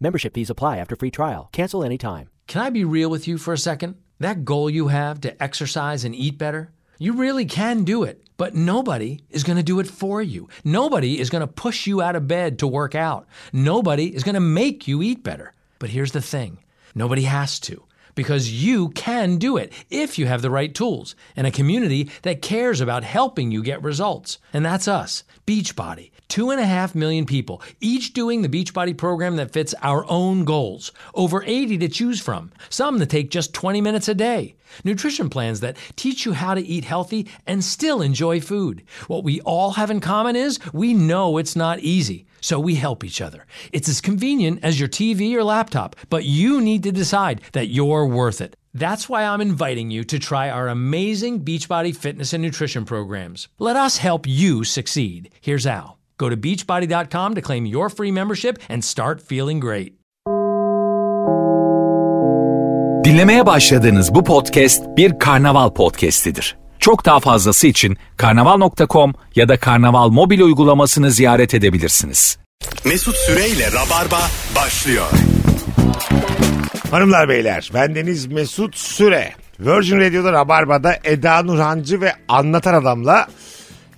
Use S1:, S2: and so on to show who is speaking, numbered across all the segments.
S1: Membership fees apply after free trial. Cancel anytime.
S2: Can I be real with you for a second? That goal you have to exercise and eat better, you really can do it, but nobody is going to do it for you. Nobody is going to push you out of bed to work out. Nobody is going to make you eat better. But here's the thing nobody has to. Because you can do it if you have the right tools and a community that cares about helping you get results. And that's us, Beachbody. Two and a half million people, each doing the Beachbody program that fits our own goals. Over 80 to choose from, some that take just 20 minutes a day. Nutrition plans that teach you how to eat healthy and still enjoy food. What we all have in common is we know it's not easy, so we help each other. It's as convenient as your TV or laptop, but you need to decide that you're worth it. That's why I'm inviting you to try our amazing Beachbody fitness and nutrition programs. Let us help you succeed. Here's how. Go to beachbody.com to claim your free membership and start feeling great.
S3: Dinlemeye başladığınız bu podcast bir karnaval podcastidir. Çok daha fazlası için karnaval.com ya da karnaval mobil uygulamasını ziyaret edebilirsiniz.
S4: Mesut Süreyle Rabarba başlıyor.
S5: Hanımlar beyler bendeniz Mesut Süre. Virgin Radio'da Rabarba'da Eda Nurhancı ve Anlatan Adam'la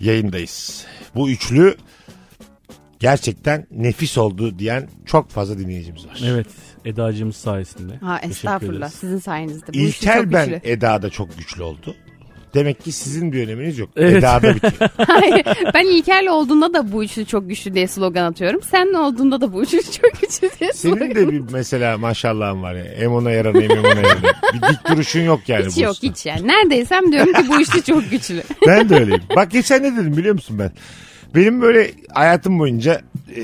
S5: yayındayız. Bu üçlü gerçekten nefis oldu diyen çok fazla dinleyicimiz var.
S6: Evet Eda'cığımız sayesinde.
S7: Ha
S6: Teşekkür
S7: estağfurullah
S6: ederiz.
S7: sizin sayenizde. Bu işi
S5: İlker
S7: çok
S5: ben
S7: güçlü.
S5: Eda'da çok güçlü oldu. Demek ki sizin bir öneminiz yok.
S6: Evet.
S5: Eda'da bitiyor.
S7: Hayır, ben İlker'le olduğunda da bu üçlü çok güçlü diye slogan atıyorum. Seninle olduğunda da bu üçlü çok güçlü diye slogan
S5: Senin de bir mesela maşallahın var ya. Hem ona yaranayım hem ona yaranayım. Bir dik duruşun yok yani.
S7: Hiç
S5: bu
S7: yok
S5: usta.
S7: hiç yani. Neredeysem diyorum ki bu üçlü çok güçlü.
S5: Ben de öyleyim. Bak geçen ne dedim biliyor musun ben? Benim böyle hayatım boyunca e,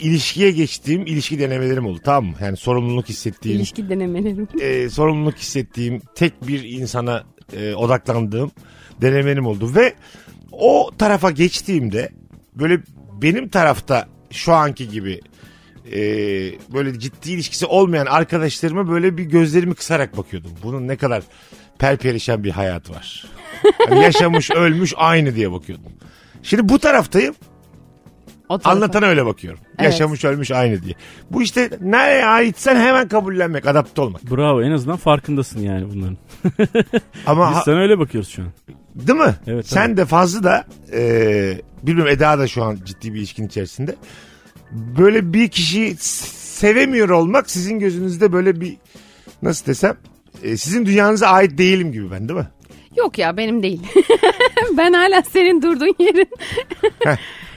S5: ilişkiye geçtiğim ilişki denemelerim oldu tamam mı? Yani sorumluluk hissettiğim,
S7: İlişki denemelerim.
S5: e, sorumluluk hissettiğim tek bir insana e, odaklandığım denemelerim oldu. Ve o tarafa geçtiğimde böyle benim tarafta şu anki gibi e, böyle ciddi ilişkisi olmayan arkadaşlarıma böyle bir gözlerimi kısarak bakıyordum. Bunun ne kadar perperişen bir hayat var. Hani yaşamış ölmüş aynı diye bakıyordum. Şimdi bu taraftayım
S7: O tarafa.
S5: anlatana öyle bakıyorum.
S7: Evet.
S5: Yaşamış ölmüş aynı diye. Bu işte nereye aitsen hemen kabullenmek adapte olmak.
S6: Bravo en azından farkındasın yani bunların.
S5: Ama
S6: Biz
S5: ha-
S6: sana öyle bakıyoruz şu an.
S5: Değil mi?
S6: Evet,
S5: Sen
S6: tabii.
S5: de fazla da e, bilmiyorum Eda da şu an ciddi bir ilişkin içerisinde. Böyle bir kişiyi s- sevemiyor olmak sizin gözünüzde böyle bir nasıl desem e, sizin dünyanıza ait değilim gibi ben değil mi?
S7: Yok ya benim değil. ben hala senin durduğun yerin.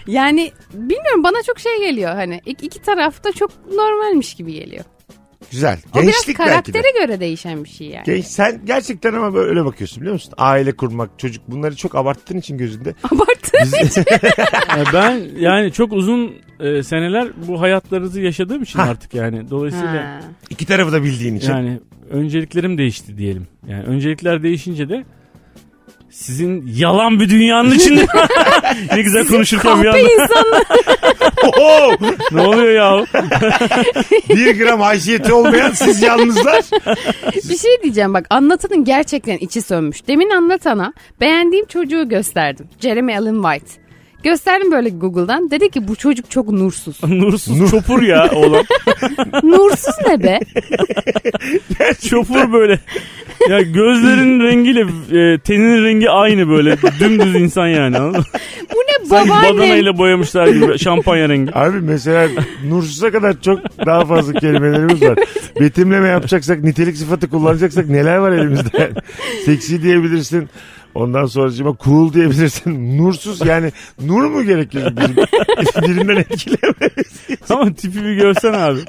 S7: yani bilmiyorum bana çok şey geliyor hani İk- iki tarafta çok normalmiş gibi geliyor.
S5: Güzel.
S7: O
S5: Gençlik
S7: biraz
S5: belki de.
S7: karaktere göre değişen bir şey yani.
S5: Genç, sen gerçekten ama böyle öyle bakıyorsun biliyor musun? Aile kurmak, çocuk bunları çok abarttığın için gözünde.
S7: Abarttı.
S6: Yani ben yani çok uzun e, seneler bu hayatlarınızı yaşadığım için artık yani. Dolayısıyla
S7: Ha.
S5: İki tarafı da bildiğin için.
S6: yani önceliklerim değişti diyelim. Yani öncelikler değişince de sizin yalan bir dünyanın içinde ne güzel konuşurken bir
S7: Kahpe
S6: anda
S7: insanlar.
S5: Oho!
S6: ne oluyor ya?
S5: bir gram haysiyeti olmayan siz yalnızlar.
S7: Bir şey diyeceğim bak anlatanın gerçekten içi sönmüş. Demin anlatana beğendiğim çocuğu gösterdim. Jeremy Allen White. Gösterdim böyle Google'dan. Dedi ki bu çocuk çok nursuz.
S6: Nursuz çopur ya oğlum.
S7: nursuz ne be?
S6: Çopur böyle. Ya gözlerin rengiyle e, teninin rengi aynı böyle. Dümdüz insan yani. anladın mı?
S7: Bu ne
S6: Badana
S7: babaanne?
S6: ile boyamışlar gibi şampanya rengi.
S5: Abi mesela nursuza kadar çok daha fazla kelimelerimiz var. Betimleme yapacaksak, nitelik sıfatı kullanacaksak neler var elimizde? Seksi diyebilirsin. Ondan sonra cool diyebilirsin. Nursuz yani nur mu gerekiyor bizim dilinden etkilememiz?
S6: Ama tipi bir görsen abi.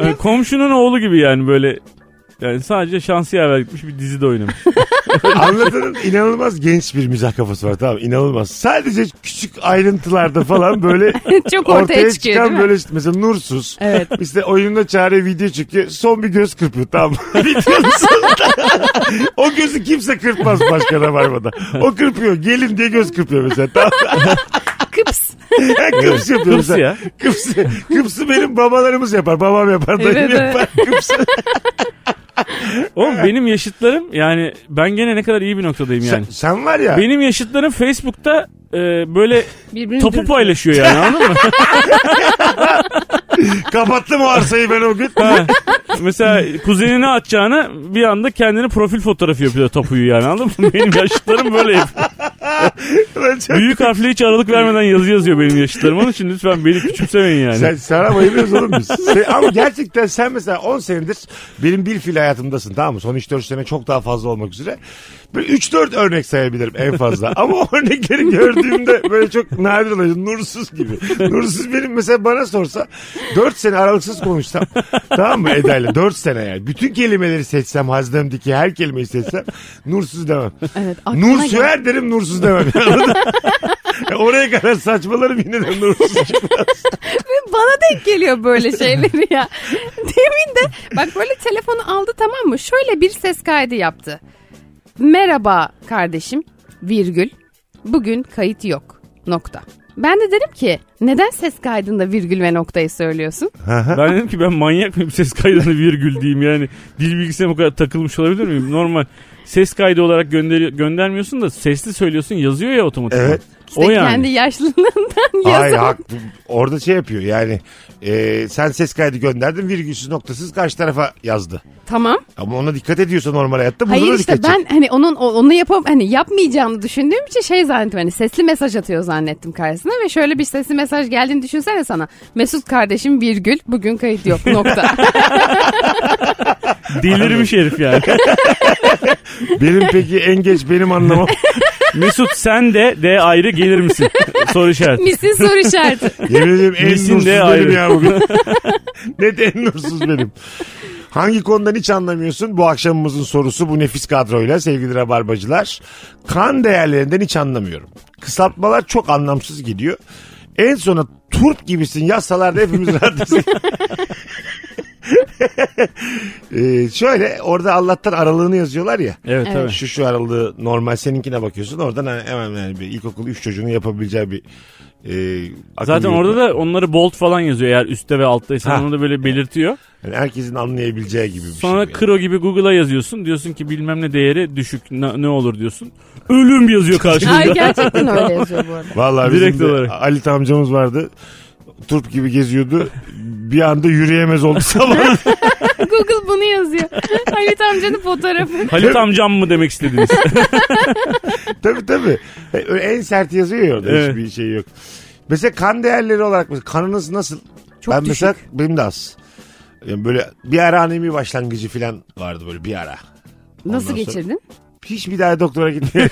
S6: Yani komşunun oğlu gibi yani böyle. Yani sadece şansı yaver gitmiş bir dizide oynamış.
S5: Anlatanın inanılmaz genç bir mizah kafası var tamam inanılmaz. Sadece küçük ayrıntılarda falan böyle
S7: çok
S5: ortaya,
S7: ortaya, çıkıyor değil
S5: çıkan
S7: mi?
S5: böyle işte mesela nursuz.
S7: Evet.
S5: İşte oyunda çare video çıkıyor. Son bir göz kırpıyor tamam. Videonun sonunda. o gözü kimse kırpmaz başka rabarbada. O kırpıyor. Gelin diye göz kırpıyor mesela. Tamam.
S7: Kıps.
S5: Kıps yapıyor
S6: Kıps
S5: mesela.
S6: ya.
S5: Kıpsı, kıpsı benim babalarımız yapar. Babam yapar. Dayım
S7: Evet, evet.
S5: yapar. Kıpsı.
S6: Oğlum benim yaşıtlarım yani ben gene ne kadar iyi bir noktadayım
S5: Sen,
S6: yani.
S5: sen var ya.
S6: Benim yaşıtlarım Facebook'ta e, böyle
S7: Birbirini
S6: topu
S7: dürtüyor.
S6: paylaşıyor yani anladın mı?
S5: Kapattım o arsayı ben o gün.
S6: Ha. Mesela kuzenini atacağına bir anda kendini profil fotoğrafı yapıyor tapuyu yani anladın mı? Benim yaşıtlarım böyle yapıyor.
S5: Ben çok-
S6: Büyük harfle hiç aralık vermeden yazı yazıyor benim yaşıtlarım. Onun için lütfen beni küçümsemeyin yani.
S5: Sen, sana bayılıyoruz oğlum biz. Sen- ama gerçekten sen mesela 10 senedir benim bir fil hayatımdasın tamam mı? Son 3-4 sene çok daha fazla olmak üzere. Böyle 3-4 örnek sayabilirim en fazla. ama o örnekleri gördüğümde böyle çok nadir oluyor. Nursuz gibi. Nursuz benim mesela bana sorsa 4 sene aralıksız konuşsam tamam mı Eda'yla 4 sene yani. Bütün kelimeleri seçsem hazdemdeki her kelimeyi seçsem nursuz demem.
S7: Evet, aklına
S5: Nur
S7: gel-
S5: sürer derim nursuz demem. Anladın mı? Oraya kadar saçmalarım yine de nursuz çıkmaz.
S7: Bana denk geliyor böyle şeyleri ya. Demin de bak böyle telefonu aldı tamam mı? Şöyle bir ses kaydı yaptı. Merhaba kardeşim virgül. Bugün kayıt yok nokta. Ben de dedim ki neden ses kaydında virgül ve noktayı söylüyorsun?
S6: Ben dedim ki ben manyak mıyım ses kaydını virgül diyeyim yani. Dil bilgisine bu kadar takılmış olabilir miyim? Normal ses kaydı olarak gönderi- göndermiyorsun da sesli söylüyorsun yazıyor ya otomatik.
S5: Evet.
S7: İşte
S6: O yani.
S7: kendi yaşlılığından
S5: Hayır
S7: yazan.
S5: haklı. Orada şey yapıyor yani e, sen ses kaydı gönderdin virgülsüz noktasız karşı tarafa yazdı.
S7: Tamam.
S5: Ama ona dikkat ediyorsa normal hayatta buna
S7: Hayır
S5: da
S7: işte
S5: dikkat
S7: ben hani onun o- onu yapam hani yapmayacağımı düşündüğüm için şey zannettim hani sesli mesaj atıyor zannettim karşısına ve şöyle bir sesli mesaj geldiğini düşünsene sana. Mesut kardeşim virgül bugün kayıt yok nokta.
S6: Delirmiş herif yani.
S5: edecek. Benim peki en geç benim anlamam.
S6: Mesut sen de de ayrı gelir misin? Soru işareti.
S7: Misin soru işareti.
S5: Yemin ediyorum en
S6: Misin de
S5: nursuz benim
S6: ayrı.
S5: ya bugün. Net en nursuz benim. Hangi konudan hiç anlamıyorsun? Bu akşamımızın sorusu bu nefis kadroyla sevgili rabarbacılar. Kan değerlerinden hiç anlamıyorum. Kısaltmalar çok anlamsız gidiyor. En sona turp gibisin yazsalar da hepimiz rahatız. Ee, şöyle orada Allah'tan aralığını yazıyorlar ya.
S6: Evet,
S7: Evet.
S6: tabii.
S5: Şu şu aralığı normal seninkine bakıyorsun. Oradan hani hemen yani bir ilkokul 3 çocuğunun yapabileceği bir e, akıl
S6: Zaten
S5: yürütme.
S6: orada da onları bolt falan yazıyor eğer üstte ve alttaysa
S5: Ha.
S6: onu da böyle belirtiyor.
S5: Yani herkesin anlayabileceği gibi bir şey.
S6: Sonra
S5: yani.
S6: kro gibi Google'a yazıyorsun. Diyorsun ki bilmem ne değeri düşük ne, ne olur diyorsun. Ölüm yazıyor
S7: Hayır
S6: karşında.
S7: gerçekten öyle yazıyor bu arada.
S5: Vallahi
S6: Direkt
S5: bizim de
S6: olarak.
S5: Ali Tam amcamız vardı. Turp gibi geziyordu. Bir anda yürüyemez oldu sabah.
S7: Google bunu yazıyor. Halit amcanın fotoğrafı.
S6: Halit amcam mı demek istediniz?
S5: tabii tabii. E, En sert yazıyor ya orada
S6: Evet.
S5: hiçbir şey yok. Mesela kan değerleri olarak mesela kanınız nasıl?
S7: Çok
S5: ben
S7: düşük.
S5: mesela benim de az. Yani böyle bir ara anemi başlangıcı falan vardı böyle bir ara.
S7: Nasıl
S5: sonra-
S7: geçirdin?
S5: Hiç bir daha doktora gitmiyor.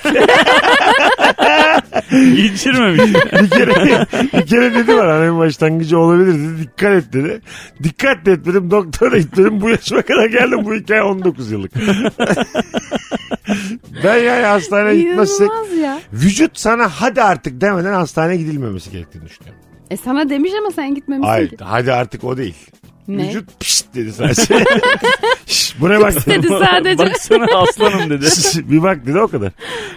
S6: Geçirmemiş.
S5: bir kere, bir kere dedi bana anemi başlangıcı olabilir dedi. Dikkat et dedi. Dikkat de etmedim doktora gitmedim. Bu yaşıma kadar geldim. Bu hikaye 19 yıllık. ben yani hastaneye gitmezsek
S7: İnanılmaz ya.
S5: vücut sana hadi artık demeden hastaneye gidilmemesi gerektiğini düşünüyorum.
S7: E sana demiş ama sen gitmemişsin
S5: Hayır
S7: ki.
S5: hadi artık o değil.
S7: Ne?
S5: Vücut pişt dedi sadece. Şş, buna bak.
S7: dedi sadece.
S6: Baksana aslanım dedi.
S5: Şş, bir bak dedi o kadar.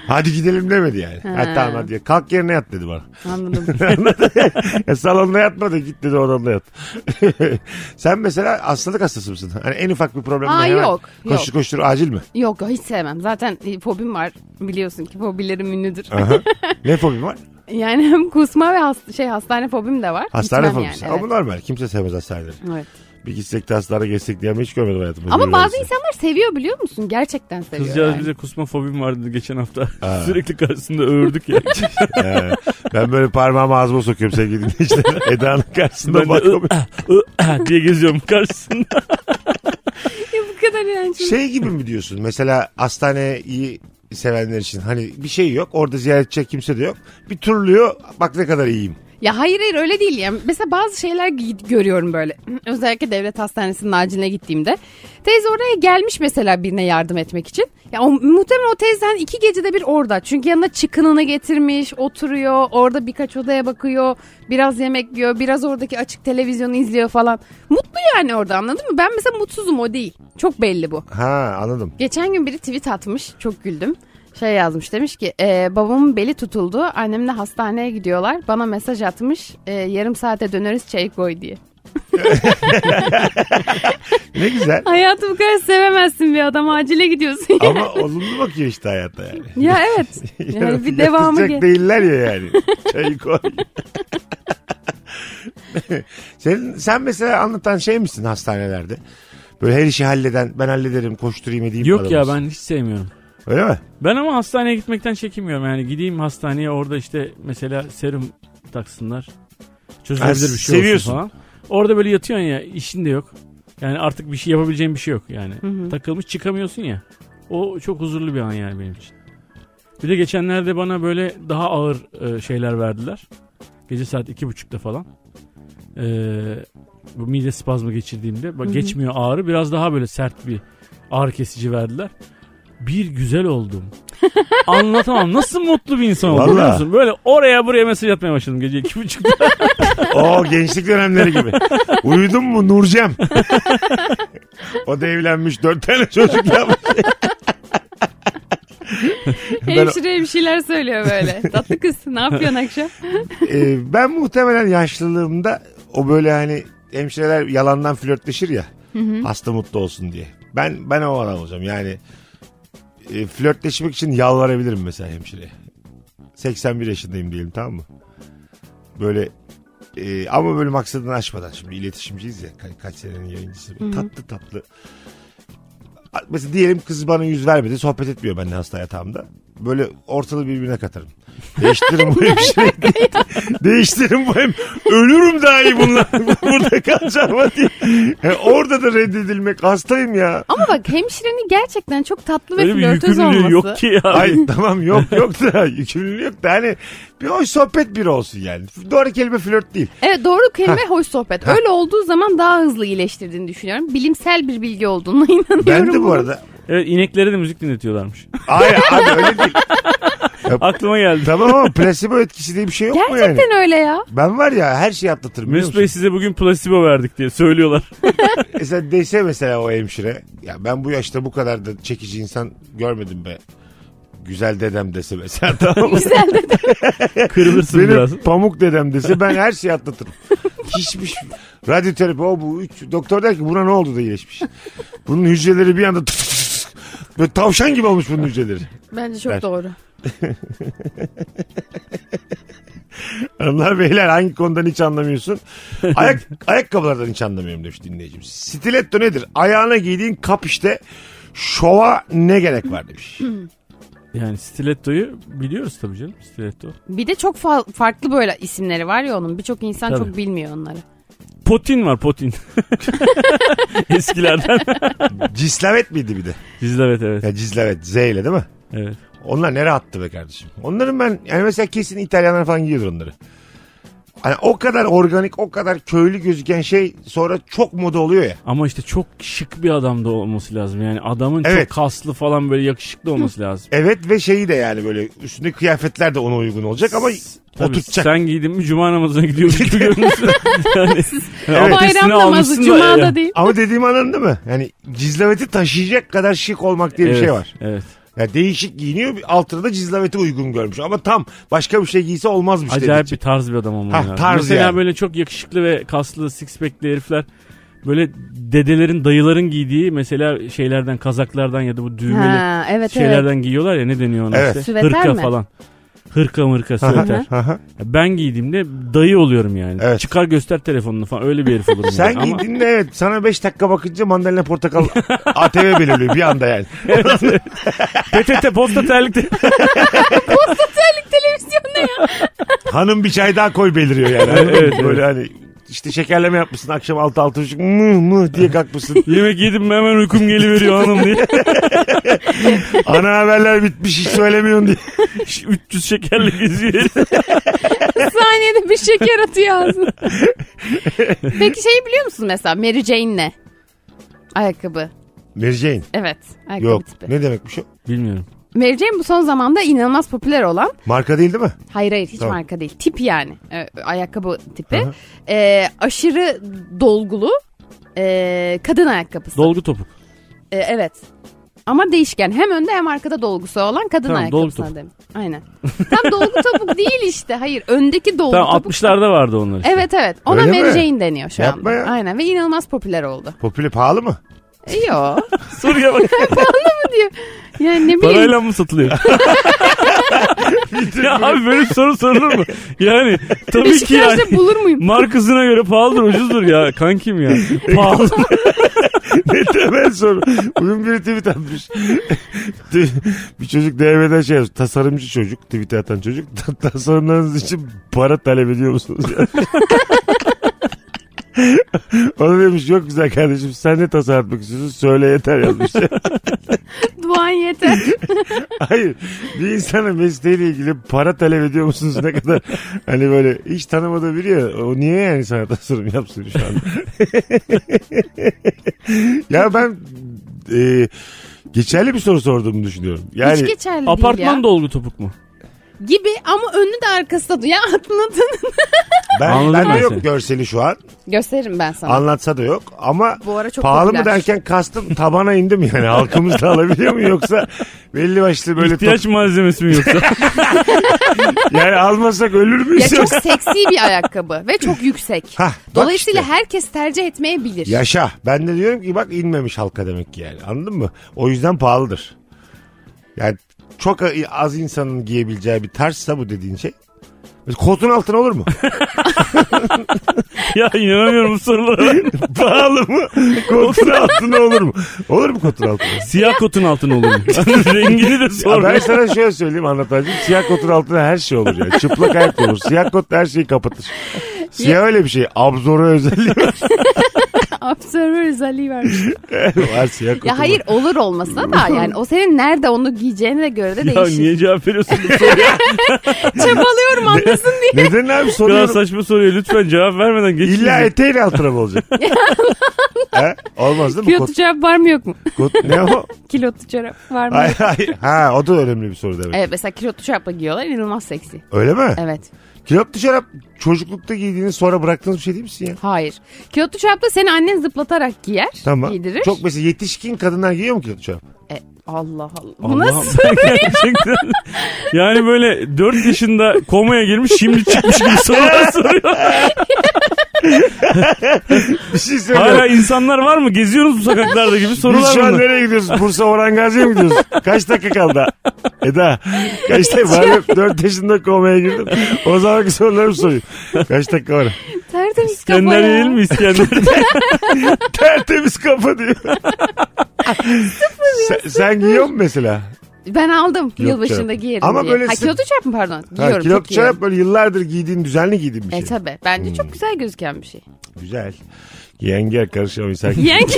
S5: Hadi gidelim demedi yani. Ha.
S7: Ha.
S5: tamam hadi kalk yerine yat dedi bana.
S7: Anladım.
S5: Ya E, salonda yatma da git dedi odamda yat. Sen mesela hastalık hastası mısın? Hani en ufak bir problemle
S7: Aa,
S5: hemen
S7: yok,
S5: koştur
S7: yok.
S5: koştur acil mi?
S7: Yok hiç sevmem. Zaten e, fobim var. Biliyorsun ki fobilerim ünlüdür.
S5: Ne fobin var?
S7: Yani hem kusma ve hast- şey hastane fobim de var.
S5: Hastane
S7: Gitmem
S5: fobisi.
S7: Yani,
S5: Ama bu
S7: evet.
S5: normal. Kimse sevmez hastaneleri.
S7: Evet.
S5: Bir gitsek de hastane gezsek diye ama hiç görmedim hayatımda.
S7: Ama
S5: Böyle
S7: bazı
S5: birisi.
S7: insanlar seviyor biliyor musun? Gerçekten seviyor.
S6: Kızcağız
S7: yani.
S6: bize kusma fobim vardı geçen hafta. Sürekli karşısında övürdük ya.
S5: Ee, ben böyle parmağımı ağzıma sokuyorum sevgili dinleyiciler. Eda'nın
S6: ben
S5: karşısında
S6: de
S5: bakamıyorum.
S6: "Ih, ih, ih" diye geziyorum karşısında.
S7: Ya bu kadar yani. Şimdi-
S5: Şey gibi mi diyorsun? Mesela hastaneyi sevenler için hani bir şey yok. Orada ziyaret edecek kimse de yok. Bir turluyor. Bak ne kadar iyiyim.
S7: Ya hayır hayır öyle değil. Yani mesela bazı şeyler gi- görüyorum böyle. Özellikle devlet hastanesinin aciline gittiğimde. Teyze oraya gelmiş mesela birine yardım etmek için. Ya o, muhtemelen o teyzen iki gecede bir orada. Çünkü yanına çıkınını getirmiş, oturuyor, orada birkaç odaya bakıyor, biraz yemek yiyor, biraz oradaki açık televizyonu izliyor falan. Mutlu yani orada anladın mı? Ben mesela mutsuzum o değil. Çok belli bu.
S5: Ha anladım.
S7: Geçen gün biri tweet atmış. Çok güldüm. Şey yazmış demiş ki "E, babamın beli tutuldu. Annemle hastaneye gidiyorlar. Bana mesaj atmış. "E, yarım saate döneriz çay koy diye.
S5: Ne güzel.
S7: Hayatı bu kadar sevemezsin bir adam. Acile gidiyorsun. ya.
S5: Ama olumlu bakıyor işte hayatta yani.
S7: ya evet. Yani bir devamı
S5: Yatacak
S7: ge-
S5: değiller ya yani. Çayı koy. Senin, sen mesela anlatan şey misin hastanelerde? Böyle her işi halleden ben hallederim koşturayım edeyim.
S6: Yok ya
S5: adamısın.
S6: ben hiç sevmiyorum.
S5: Öyle mi?
S6: Ben ama hastaneye gitmekten çekinmiyorum yani gideyim hastaneye orada işte mesela serum taksınlar. Çözülebilir
S5: Ha,
S6: bir şey
S5: seviyorsun.
S6: olsun falan. Orada böyle yatıyorsun ya işin de yok. Yani artık bir şey yapabileceğin bir şey yok yani. Takılmış çıkamıyorsun ya. O çok huzurlu bir an yani benim için. Bir de geçenlerde bana böyle daha ağır e, şeyler verdiler. Gece saat iki buçukta falan. E, bu mide spazmı geçirdiğimde bak geçmiyor ağrı biraz daha böyle sert bir ağrı kesici verdiler. Bir güzel oldum. Anlatamam. Nasıl mutlu bir insan oldum biliyor
S5: Vallahi.
S6: musun? Böyle oraya buraya mesaj atmaya başladım gece iki buçukta.
S5: O gençlik dönemleri gibi. Uyudun mu Nurcem? o da evlenmiş dört tane çocuk yapmış.
S7: Hemşireye bir şeyler söylüyor böyle. Tatlı kız ne yapıyorsun akşam?
S5: Ee, ben muhtemelen yaşlılığımda o böyle hani hemşireler yalandan flörtleşir ya. Hasta mutlu olsun diye. Ben ben o adam olacağım yani. e, flörtleşmek için yalvarabilirim mesela hemşireye. 81 yaşındayım diyelim tamam mı? Böyle e, ama böyle maksadını aşmadan şimdi iletişimciyiz ya ka- kaç senenin yayıncısı. Tatlı tatlı. A- Mesela diyelim kız bana yüz vermedi sohbet etmiyor benimle hasta yatağımda. Böyle ortalığı birbirine katarım. Değiştiririm bu hemşireyi. Değiştirin bu hem ölürüm daha iyi bunlar. Burada kalacağım hadi. Yani orada da reddedilmek hastayım ya.
S7: Ama bak hemşirenin gerçekten çok tatlı ve
S6: Öyle bir
S7: flörtöz
S6: yükümlülüğü
S7: olması.
S6: yok ki ya.
S5: Ay tamam yok yok da yükümlülük yok da hani bir hoş sohbet biri olsun yani. Doğru kelime flört değil.
S7: Evet doğru kelime hoş sohbet. Öyle olduğu zaman daha hızlı iyileştirdiğini düşünüyorum. Bilimsel bir bilgi olduğuna inanıyorum.
S5: Ben de bu
S7: bunun.
S5: arada.
S6: Evet ineklere de müzik dinletiyorlarmış.
S5: Ay abi öyle değil.
S6: Aklıma geldi.
S5: Tamam ama plasebo etkisi diye bir şey yok mu yani?
S7: Gerçekten öyle ya.
S5: Ben var ya her şeyi atlatırım. biliyor
S6: Mesut
S5: musun?
S6: Bey size bugün plasibo verdik diye söylüyorlar.
S5: Mesela dese mesela o hemşire. Ya ben bu yaşta bu kadar da çekici insan görmedim be. Güzel dedem dese mesela tamam mı?
S7: Güzel de
S6: Kırılırsın
S5: Benim
S6: biraz.
S5: pamuk dedem dese ben her şeyi atlatırım. Hiçbir şey. Radyoterapi o bu. Üç. Doktor der ki buna ne oldu da iyileşmiş. Bunun hücreleri bir anda böyle tavşan gibi olmuş bunun hücreleri.
S7: Bence çok
S5: Ben-
S7: doğru.
S5: Hanımlar beyler hangi konudan hiç anlamıyorsun? Ayak, ayakkabılardan hiç anlamıyorum demiş dinleyicimiz. Stiletto nedir? Ayağına giydiğin kap işte. Şova ne gerek var demiş.
S6: Yani stilettoyu biliyoruz tabii canım stiletto.
S7: Bir de çok fa- farklı böyle isimleri var ya onun. Birçok insan
S6: Tabii.
S7: çok bilmiyor onları.
S6: Potin var potin. Eskilerden.
S5: Cislavet miydi bir de?
S6: Cizlevet evet.
S5: Ya Cizlavet Z ile değil mi?
S6: evet.
S5: Onlar nereye attı be kardeşim? Onların ben yani mesela kesin İtalyanlar falan giyiyordur onları. Hani o kadar organik, o kadar köylü gözüken şey sonra çok moda oluyor ya.
S6: Ama işte çok şık bir adamda olması lazım. Yani adamın
S5: Evet.
S6: çok kaslı falan böyle yakışıklı olması lazım.
S5: Evet ve şeyi de yani böyle üstündeki kıyafetler de ona uygun olacak ama
S6: Tabii,
S5: oturtacak.
S6: Sen giydin mi cuma namazına gidiyormuş gibi görünürsün. yani,
S7: O
S6: abdestini
S7: bayram namazı
S6: almışsın da
S7: cumada
S6: yani.
S7: değil.
S5: Ama dediğim anladın mı? Yani cizlaveti taşıyacak kadar şık olmak diye bir
S6: evet,
S5: şey var.
S6: Evet.
S5: Yani değişik giyiniyor altına da cizlaveti uygun görmüş. Ama tam başka bir şey giyse olmazmış
S6: Acayip
S5: dedi.
S6: bir tarz bir adam olmalı.
S5: Ha,
S6: lazım.
S5: tarz
S6: Mesela
S5: yani.
S6: böyle çok yakışıklı ve kaslı six pack'li herifler böyle dedelerin dayıların giydiği mesela şeylerden kazaklardan ya da bu düğmeli
S7: Ha, evet evet.
S6: şeylerden giyiyorlar ya ne deniyor ona
S5: Evet.
S6: işte
S7: Süveter
S6: hırka
S7: mi?
S6: falan. Hırka mırka süveter.
S5: Aha.
S6: ben giydiğimde dayı oluyorum yani.
S5: Evet.
S6: Çıkar göster telefonunu falan öyle bir herif olurum.
S5: Sen
S6: yani. Ama
S5: giydiğinde evet sana 5 dakika bakınca mandalina portakal ATV belirliyor bir anda yani.
S6: PTT posta terlikte
S7: Televizyon ne ya?
S5: Hanım bir çay daha koy beliriyor yani.
S6: Evet,
S5: Böyle hani işte şekerleme yapmışsın akşam altı altı buçuk mıh mıh diye kalkmışsın.
S6: yemek yedim mi hemen uykum geliveriyor hanım diye.
S5: Ana haberler bitmiş hiç söylemiyorsun diye.
S6: 300 şekerle geziyor.
S7: Saniyede bir şeker atıyor ağzına. Peki şeyi biliyor musun mesela Mary Jane'le? Ayakkabı.
S5: Mary Jane.
S7: Evet. Ayakkabı
S5: Yok.
S7: tipi.
S5: Ne demekmiş o?
S6: Bilmiyorum.
S7: Mary Jane bu son zamanda inanılmaz popüler olan
S5: Marka değil değil mi?
S7: Hayır hayır hiç
S5: Tamam.
S7: marka değil. Tip yani. Ee, ayakkabı tipi. Ee, aşırı dolgulu ee, kadın ayakkabısı.
S6: Dolgu topuk.
S7: Ee, evet. Ama değişken. Hem önde hem arkada dolgusu olan kadın
S6: Tamam, dolgu
S7: ayakkabısına
S6: topu.
S7: dedim. Aynen. Tam dolgu topuk değil işte. Hayır. Öndeki dolgu
S6: Tamam
S7: topuk.
S6: 60'larda vardı onlar işte.
S7: Evet evet. Ona
S5: Öyle
S7: Mary
S5: mi?
S7: Jane deniyor şu
S5: Yapma
S7: anda.
S5: ya.
S7: Aynen ve inanılmaz popüler oldu. E,
S5: Popüle pahalı mı?
S7: Yo.
S6: Soruya bak.
S7: Yani ne bileyim.
S6: Parayla mı satılıyor? ya abi böyle bir soru sorulur mu? Yani tabii ki yani.
S7: Beşiktaş'ta bulur muyum?
S6: Markasına göre pahalıdır ucuzdur ya kankim ya. Pahalı.
S5: ne temel soru. Bugün biri tweet atmış. bir çocuk DM'den şey yazmış. Tasarımcı çocuk. Tweet atan çocuk. "Ta- Tasarımlarınız için para talep ediyor musunuz? o da demiş yok güzel kardeşim sen ne tasarlatmak istiyorsun söyle yeter yazmış.
S7: Duan yeter.
S5: Hayır bir insanın mesleğiyle ilgili para talep ediyor musunuz ne kadar hani böyle hiç tanımadığı biri ya o niye yani sana tasarım yapsın şu an. ya ben e, geçerli bir soru sorduğumu düşünüyorum. Yani
S7: Hiç geçerli değil ya.
S6: Apartman dolgu topuk mu?
S7: Gibi ama önü de arkası da. Ya anladın.
S5: ben,
S6: Anladım
S5: ben
S6: ben
S5: de
S6: seni.
S5: yok görseli şu an
S7: Gösteririm ben sana.
S5: anlatsa da yok ama
S7: Bu ara çok
S5: pahalı mı
S7: popüler.
S5: derken kastım tabana indim yani halkımız da alabiliyor mu yoksa belli başlı böyle
S6: İhtiyaç malzemesi mi yoksa?
S5: top- yani almasak ölür
S7: ya
S5: müyüz?
S7: çok seksi bir ayakkabı ve çok yüksek.
S5: Hah, bak
S7: Dolayısıyla herkes tercih etmeyebilir.
S5: Yaşa. Ben de diyorum ki bak inmemiş halka demek ki yani. Anladın mı? O yüzden pahalıdır. Yani çok az insanın giyebileceği bir tarzsa bu dediğin şey. Mesela Kotun altına olur mu?
S6: ya inanamıyorum bu sorulara.
S5: Pahalı mı? Kotun altına olur mu? Olur mu kotun altına?
S6: Siyah kotun altına olur mu? Rengini de
S5: Ya ben
S6: sormuş.
S5: sana şöyle söyleyeyim anlatacağım. Siyah kotun altına her şey olur yani. Çıplak ayak da olur. Siyah kot her şeyi kapatır. Siyah öyle bir şey. Abzora özelliği
S7: Observer özelliği vermiş.
S5: var siyah kotun.
S7: Ya hayır olur olmasına da yani o senin nerede onu giyeceğine de göre de
S6: Ya
S7: değişir.
S6: niye cevap veriyorsun bu soruya?
S7: Çabalıyorum anlasın diye.
S5: Neden abi
S6: Daha
S5: soruyorum?
S6: saçma soruya lütfen cevap vermeden geç.
S5: İlla eteğin altına mı olacak? He? Olmaz değil mi? Kot,
S7: Kilotu çorap var mı yok mu?
S5: kot, ne o?
S7: Kilotu çorap var mı?
S5: Ay, ay. Ha o da önemli bir soru demek.
S7: Evet mesela kilotu çorapla giyiyorlar inanılmaz seksi.
S5: Öyle mi?
S7: Evet.
S5: Kilotlu şarap çocuklukta giydiğiniz sonra bıraktığınız bir şey değil misin ya?
S7: Hayır. Kilotlu çorapla seni annen zıplatarak giyer.
S5: Tamam.
S7: Giydirir.
S5: Çok mesela yetişkin kadınlar giyiyor mu kilotlu şarap?
S7: E, Allah Allah. Bu
S6: Allah'ım,
S7: nasıl?
S6: Gerçekten. Yani böyle 4 yaşında komaya girmiş şimdi çıkmış gibi sorular soruyor.
S5: Bir şey
S6: Hala
S5: söyleyeyim.
S6: insanlar var mı? Geziyoruz bu sokaklarda gibi
S5: Biz
S6: sorular
S5: şu an
S6: bunlar.
S5: nereye gidiyoruz? Bursa Orhan Gazi'ye mi gidiyoruz? Kaç dakika kaldı? Eda. Kaç dakika? Ben hep 4 yaşında komaya girdim. O zamanki sorularımı soruyor. Kaç dakika var?
S7: Tertemiz kafa
S6: İskender
S7: ya.
S6: değil mi İskender?
S5: Tertemiz kafa diyor. sen, sen giyiyor musun mesela?
S7: Ben aldım
S5: Kilotlu
S7: yılbaşında
S5: çorap.
S7: giyerim
S5: Ama
S7: diye.
S5: böyle
S7: ha,
S5: sık-
S7: kilotlu çorap mı pardon? Giyiyorum.
S5: Ha,
S7: çok
S5: kilotlu
S7: giyiyorum.
S5: şarap böyle yıllardır giydiğin, düzenli giydiğin bir şey.
S7: E tabi. Bence çok güzel gözüken bir şey.
S5: Güzel. Yenge karışamayız. Sen
S7: Yenge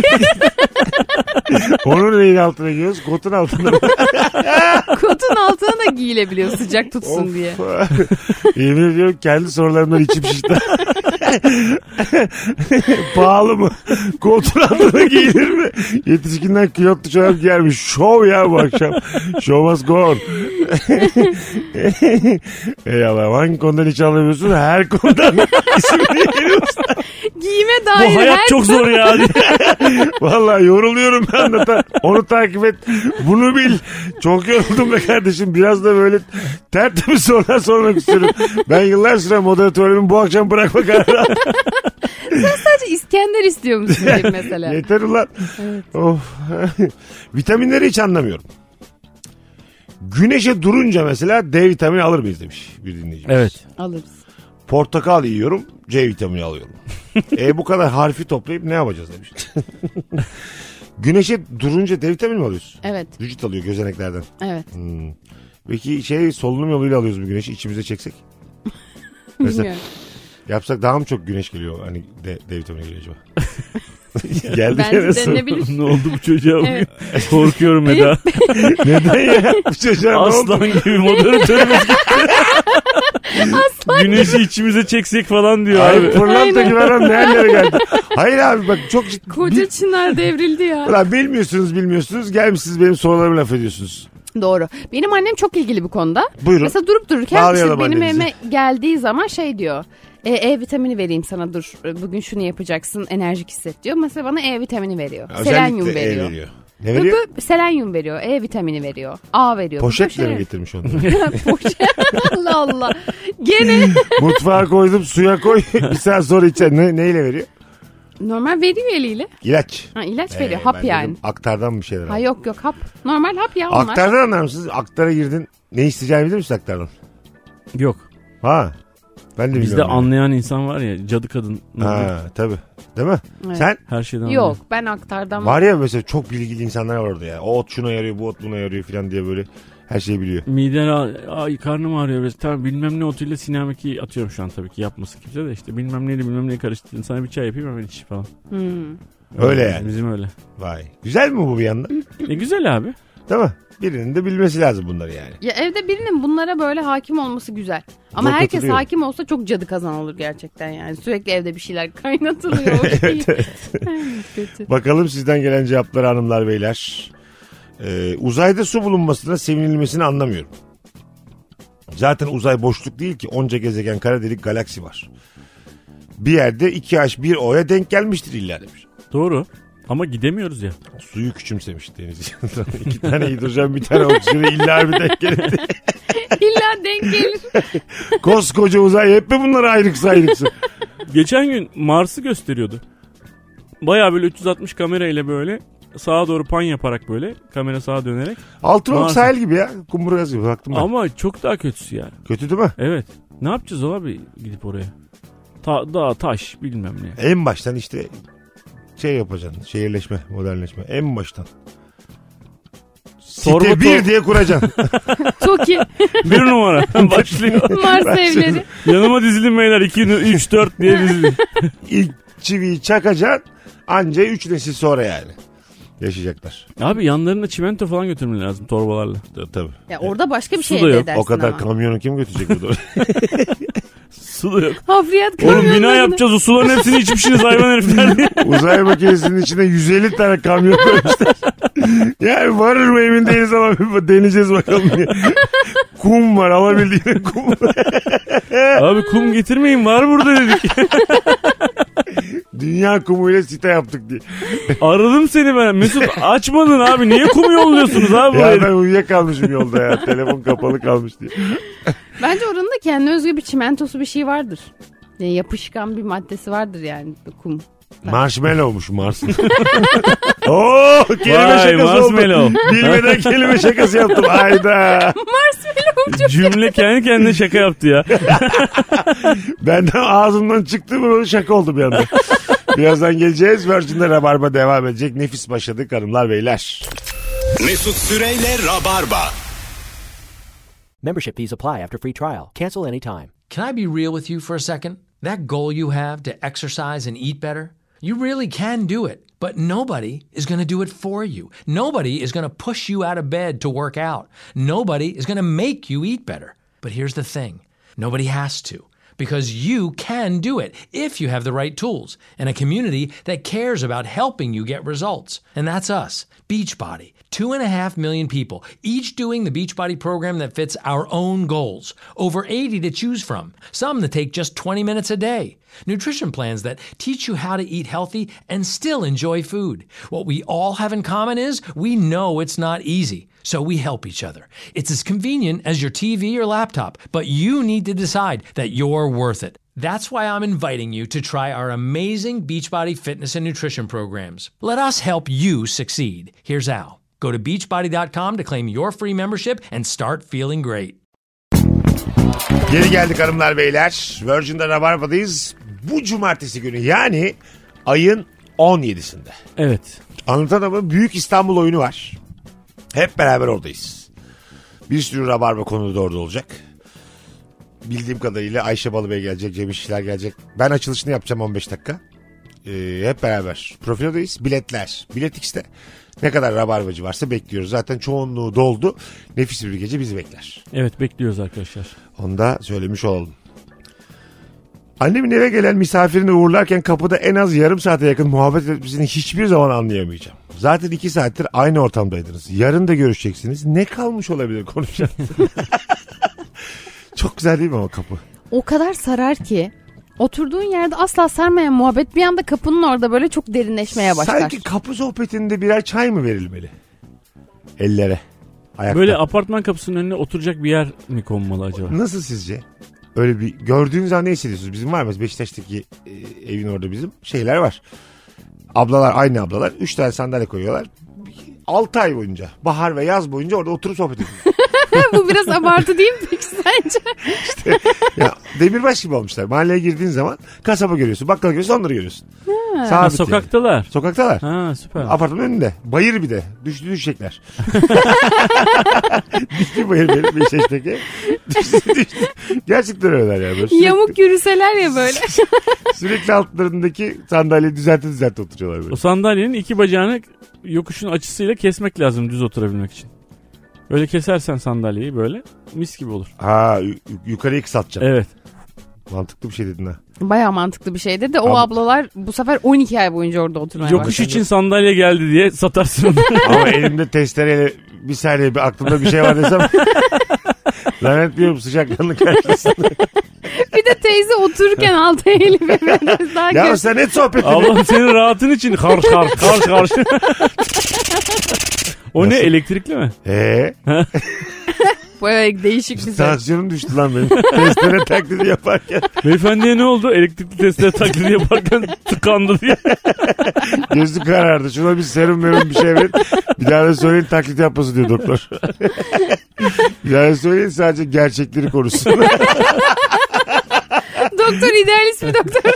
S5: Onun neyin altına giyiyoruz? Kotun altına. mı?
S7: kotun altına da giyilebiliyor sıcak tutsun
S5: Of.
S7: diye.
S5: Yemin ediyorum kendi sorularımdan içim şişti. Pahalı mı? Kotun altına giyilir mi? Yetişkinler kilotlu çorap giyermiş. Şov ya bu akşam. Show must go on. Ey Allah'ım hangi konudan hiç anlamıyorsun? Her konudan ismini veriyorsun.
S7: Giyime
S6: Bu
S7: dair
S6: hayat
S7: her
S6: çok zor ya.
S5: Vallahi yoruluyorum ben anlatan. Onu takip et. Bunu bil. Çok yoruldum be kardeşim. Biraz da böyle tertemiz sorular sormak istiyorum. Ben yıllar süre moderatörümü bu akşam bırakma kararı aldım.
S7: sadece İskender istiyor musun diyeyim mesela.
S5: Yeter ulan. Of. Vitaminleri hiç anlamıyorum. Güneşe durunca mesela D vitamini alır mıyız demiş bir dinleyicimiz.
S6: Evet.
S7: Alırız.
S5: Portakal yiyorum, C vitamini alıyorum. e bu kadar harfi toplayıp ne yapacağız demiş. Güneşe durunca D vitamini mi alıyorsun?
S7: Evet.
S5: Vücut alıyor gözeneklerden.
S7: Evet.
S5: Peki şey solunum yoluyla alıyoruz bu güneşi içimize çeksek. Mesela
S7: Bilmiyorum.
S5: yapsak daha mı çok güneş geliyor hani D, D vitamini geliyor acaba? Geldi gene
S7: Bence
S5: soru.
S7: denebilir.
S6: ne oldu bu çocuğa? bugün?
S7: Evet.
S6: Korkuyorum Eda.
S5: Neden ya? Bu çocuğa ne oldu?
S6: Aslan gibi moderatörümüz gitti. Güneşi içimize çeksek falan diyor
S5: Ay
S6: abi.
S5: fırlanta gibi adam nerelere geldi? Hayır abi bak çok ciddi.
S7: Koca çınar devrildi ya.
S5: Ulan bilmiyorsunuz bilmiyorsunuz gelmişsiniz benim sorularıma laf ediyorsunuz.
S7: Doğru. Benim annem çok ilgili bu konuda.
S5: Buyurun.
S7: Mesela durup dururken
S5: Bağlayalım
S7: işte benim
S5: annenizi.
S7: evime geldiği zaman şey diyor. E, e vitamini vereyim sana dur. E, Bugün şunu yapacaksın enerjik hisset diyor. Mesela bana E vitamini veriyor. Selenyum
S5: Özellikle E
S7: veriyor.
S5: Ne
S7: Bö-
S5: veriyor?
S7: bö- Selenyum veriyor. E vitamini veriyor. A veriyor.
S5: Poşetle mi
S7: Böyle
S5: getirmiş onu?
S7: şeyler- Poşet. Allah Allah. Gene
S5: Mutfağa koydum suya koy bir saat sonra içer. Ne, neyle veriyor?
S7: Normal veriyor eliyle.
S5: İlaç.
S7: Ha, ilaç veriyor.
S5: Ee,
S7: hap
S5: ben
S7: yani.
S5: dedim, aktardan bir şeyler.
S7: Ha
S5: al.
S7: yok yok hap. Normal hap ya onlar.
S5: Aktardan anlar mısınız? Aktara girdin. Ne isteyeceğini bilir misin aktardan?
S6: Yok.
S5: Ha. Ben de
S6: Bizde
S5: biliyorum.
S6: anlayan insan var ya cadı kadın.
S5: Ha tabii. Değil mi?
S7: Evet.
S5: Sen
S6: Her şeyden
S7: Yok ben aktardan
S5: var ya mesela çok bilgili insanlar var orada ya. O ot şuna yarıyor, bu ot buna yarıyor falan diye böyle her şeyi biliyor.
S6: Miden ağ- ay karnım ağrıyor. Biraz. Tamam bilmem ne otuyla sinameki atıyorum şu an tabii ki yapmasın kimse de işte bilmem neyle bilmem neyi karıştırdın. Sana bir çay yapayım hemen iç falan.
S7: Hmm.
S5: Öyle
S6: Bizim-
S5: yani.
S6: Bizim öyle.
S5: Vay. Güzel mi bu bir yandan?
S6: Ne güzel abi.
S5: Değil mi? Birinin de bilmesi lazım bunları yani.
S7: Ya evde birinin bunlara böyle hakim olması güzel. Ama
S5: Yok,
S7: herkes
S5: katılıyorum.
S7: hakim olsa çok cadı kazan olur gerçekten yani. Sürekli evde bir şeyler kaynatılıyor. evet, Kötü.
S5: Bakalım sizden gelen cevapları hanımlar beyler. Ee, uzayda su bulunmasına sevinilmesini anlamıyorum. Zaten uzay boşluk değil ki onca gezegen kara delik galaksi var. Bir yerde 2H 1O'ya denk gelmiştir illa demiş.
S6: Doğru. Ama gidemiyoruz ya.
S5: Suyu küçümsemiş deniz. İki tane hidrojen bir tane oksijen illa bir denk gelir.
S7: İlla denk gelir.
S5: Koskoca uzay hep mi bunlar ayrıksı ayrıksı?
S6: Geçen gün Mars'ı gösteriyordu. Baya böyle 360 kamerayla böyle sağa doğru pan yaparak böyle kamera sağa dönerek.
S5: Altınoluk
S6: Maalesef.
S5: sahil gibi ya. Kumburgaz gibi baktım ben.
S6: Ama çok daha kötüsü yani.
S5: Kötü değil mi?
S6: Evet. Ne yapacağız abi gidip oraya? Ta, dağ, taş bilmem ne.
S5: En baştan işte şey yapacaksın. Şehirleşme, modernleşme. En baştan. Site
S6: Sorgu
S5: 1
S6: to-
S5: diye kuracaksın.
S7: Toki
S6: Bir numara başlıyor.
S7: Mars evleri.
S6: Yanıma dizilin beyler 2, 3, 4 diye dizilin.
S5: İlk çiviyi çakacaksın. Anca 3 nesil sonra yani. Yaşayacaklar.
S6: Abi yanlarına çimento falan götürmen lazım torbalarla.
S5: Tabii.
S7: Ya orada başka bir
S6: Su
S7: şey
S6: da
S7: elde
S6: yok,
S7: edersin
S5: O kadar
S7: ama.
S5: kamyonu kim götürecek burada?
S6: Su da yok.
S7: Hafriyat
S6: Oğlum
S7: kamyonlarını-
S6: bina yapacağız o suların hepsini içmişsiniz hayvan herifler diye.
S5: Uzay makinesinin içine 150 tane kamyon koymuşlar. yani varır mı emin değiliz ama bir deneyeceğiz bakalım diye. kum var alabildiğine kum var.
S6: Abi kum getirmeyin var burada dedik.
S5: Dünya kumuyla site yaptık diye.
S6: Aradım seni ben. Mesut açmadın abi. Niye kum yolluyorsunuz abi
S5: Ya
S6: buraya?
S5: ben uyuyakalmışım yolda ya. Telefon kapalı kalmış diye.
S7: Bence oranın da kendine özgü bir çimentosu bir şey vardır. Yani yapışkan bir maddesi vardır yani kum.
S5: Marshmallow'muş Mars. Oo kelime
S6: Vay,
S5: şakası oldu.
S6: marshmallow.
S5: Bilmeden kelime şakası yaptım. Hayda.
S6: Cümle kendi kendine şaka yaptı ya.
S5: Benden ağzımdan çıktı mı böyle şaka oldu bir anda. Birazdan geleceğiz. Virgin'de Rabarba devam edecek. Nefis başladık hanımlar beyler.
S4: Mesut Süreyle Rabarba.
S1: Membership fees apply after free trial. Cancel any time.
S2: Can I be real with you for a second? That goal you have to exercise and eat better, you really can do it, but nobody is going to do it for you. Nobody is going to push you out of bed to work out. Nobody is going to make you eat better. But here's the thing nobody has to. Because you can do it if you have the right tools and a community that cares about helping you get results. And that's us, Beachbody. Two and a half million people, each doing the Beachbody program that fits our own goals. Over 80 to choose from, some that take just 20 minutes a day. Nutrition plans that teach you how to eat healthy and still enjoy food. What we all have in common is we know it's not easy. So we help each other. It's as convenient as your TV or laptop, but you need to decide that you're worth it. That's why I'm inviting you to try our amazing Beachbody fitness and nutrition programs. Let us help you succeed. Here's how. Go to beachbody.com to claim your free membership and start feeling great.
S5: Geri geldik hanımlar beyler. Virgin'de Rabarba'dayız. Bu cumartesi günü yani ayın 17'sinde.
S6: Evet.
S5: Anlatan Adam'ın Büyük İstanbul oyunu var. Hep beraber oradayız. Bir sürü rabarba konuda orada olacak. Bildiğim kadarıyla Ayşe Balıbey gelecek, Cem İşçiler gelecek. Ben açılışını yapacağım 15 dakika. Ee, hep beraber profilodayız. Biletler. Bilet X'te. Ne kadar rabarbacı varsa bekliyoruz. Zaten çoğunluğu doldu. Nefis bir gece bizi bekler.
S6: Evet bekliyoruz arkadaşlar.
S5: Onu da söylemiş olalım. Annemin eve gelen misafirini uğurlarken kapıda en az yarım saate yakın muhabbet etmesini hiçbir zaman anlayamayacağım. Zaten iki saattir aynı ortamdaydınız. Yarın da görüşeceksiniz. Ne kalmış olabilir konuşan? Çok güzel değil mi ama kapı?
S7: O kadar sarar ki. Oturduğun yerde asla sarmayan muhabbet bir anda kapının orada böyle çok derinleşmeye başlar.
S5: Sanki kapı sohbetinde birer çay mı verilmeli? Ellere. Ayakta.
S6: Böyle apartman kapısının önüne oturacak bir yer mi konmalı acaba?
S5: Nasıl sizce? Öyle bir gördüğünüz an ne hissediyorsunuz? Bizim var mı? Beşiktaş'taki e, evin orada bizim şeyler var. Ablalar aynı ablalar. Üç tane sandalye koyuyorlar. 6 ay boyunca bahar ve yaz boyunca orada oturup sohbet ediyor.
S7: Bu biraz abartı değil mi peki sence?
S5: ya, demirbaş gibi olmuşlar. Mahalleye girdiğin zaman kasaba görüyorsun, bakkal görüyorsun, onları görüyorsun.
S6: Ha,
S5: Sabit yani.
S6: sokaktalar.
S5: Sokaktalar.
S6: Ha süper.
S5: Apartmanın önünde. Bayır bir de. Düştü düşecekler. düştü bayır benim Beşiktaş'taki. Düştü düştü. Gerçekten öyleler yani. Böyle Sürekli,
S7: Yamuk yürüseler ya böyle.
S5: sürekli altlarındaki sandalyeyi düzelti düzelti oturuyorlar böyle.
S6: O sandalyenin iki bacağını yokuşun açısıyla kesmek lazım düz oturabilmek için. Böyle kesersen sandalyeyi böyle mis gibi olur.
S5: Ha yu- yu- yukarıya kısaltacaksın.
S6: Evet.
S5: Mantıklı bir şey dedin ha.
S7: Baya mantıklı bir şeydi de o
S5: Ab-
S7: ablalar bu sefer 12 ay boyunca orada oturmaya
S6: Yokuş
S7: başladı.
S6: için sandalye geldi diye satarsın. onu.
S5: Ama elimde testereyle bir saniye bir aklımda bir şey var desem. Zannetmiyorum sıcaklığını karşısında.
S7: Bir de teyze otururken altı eli böyle daha
S5: ya
S7: kötü.
S5: sen net sohbet ediyorsun.
S6: Allah'ım senin rahatın için harç harç harç harç. o ne
S5: Nasıl?
S6: elektrikli mi?
S5: Ee,
S7: Böyle değişik bir şey.
S5: tansiyonum düştü lan benim. Testere taklidi yaparken.
S6: Beyefendiye ne oldu? Elektrikli testere taklidi yaparken tıkandı diye.
S5: Gözü karardı. Şuna bir serum verin bir şey verin. Bir daha da söyleyin taklit yapması diyor doktor. bir daha da söyleyin sadece gerçekleri korusun.
S7: doktor idealist bir doktor.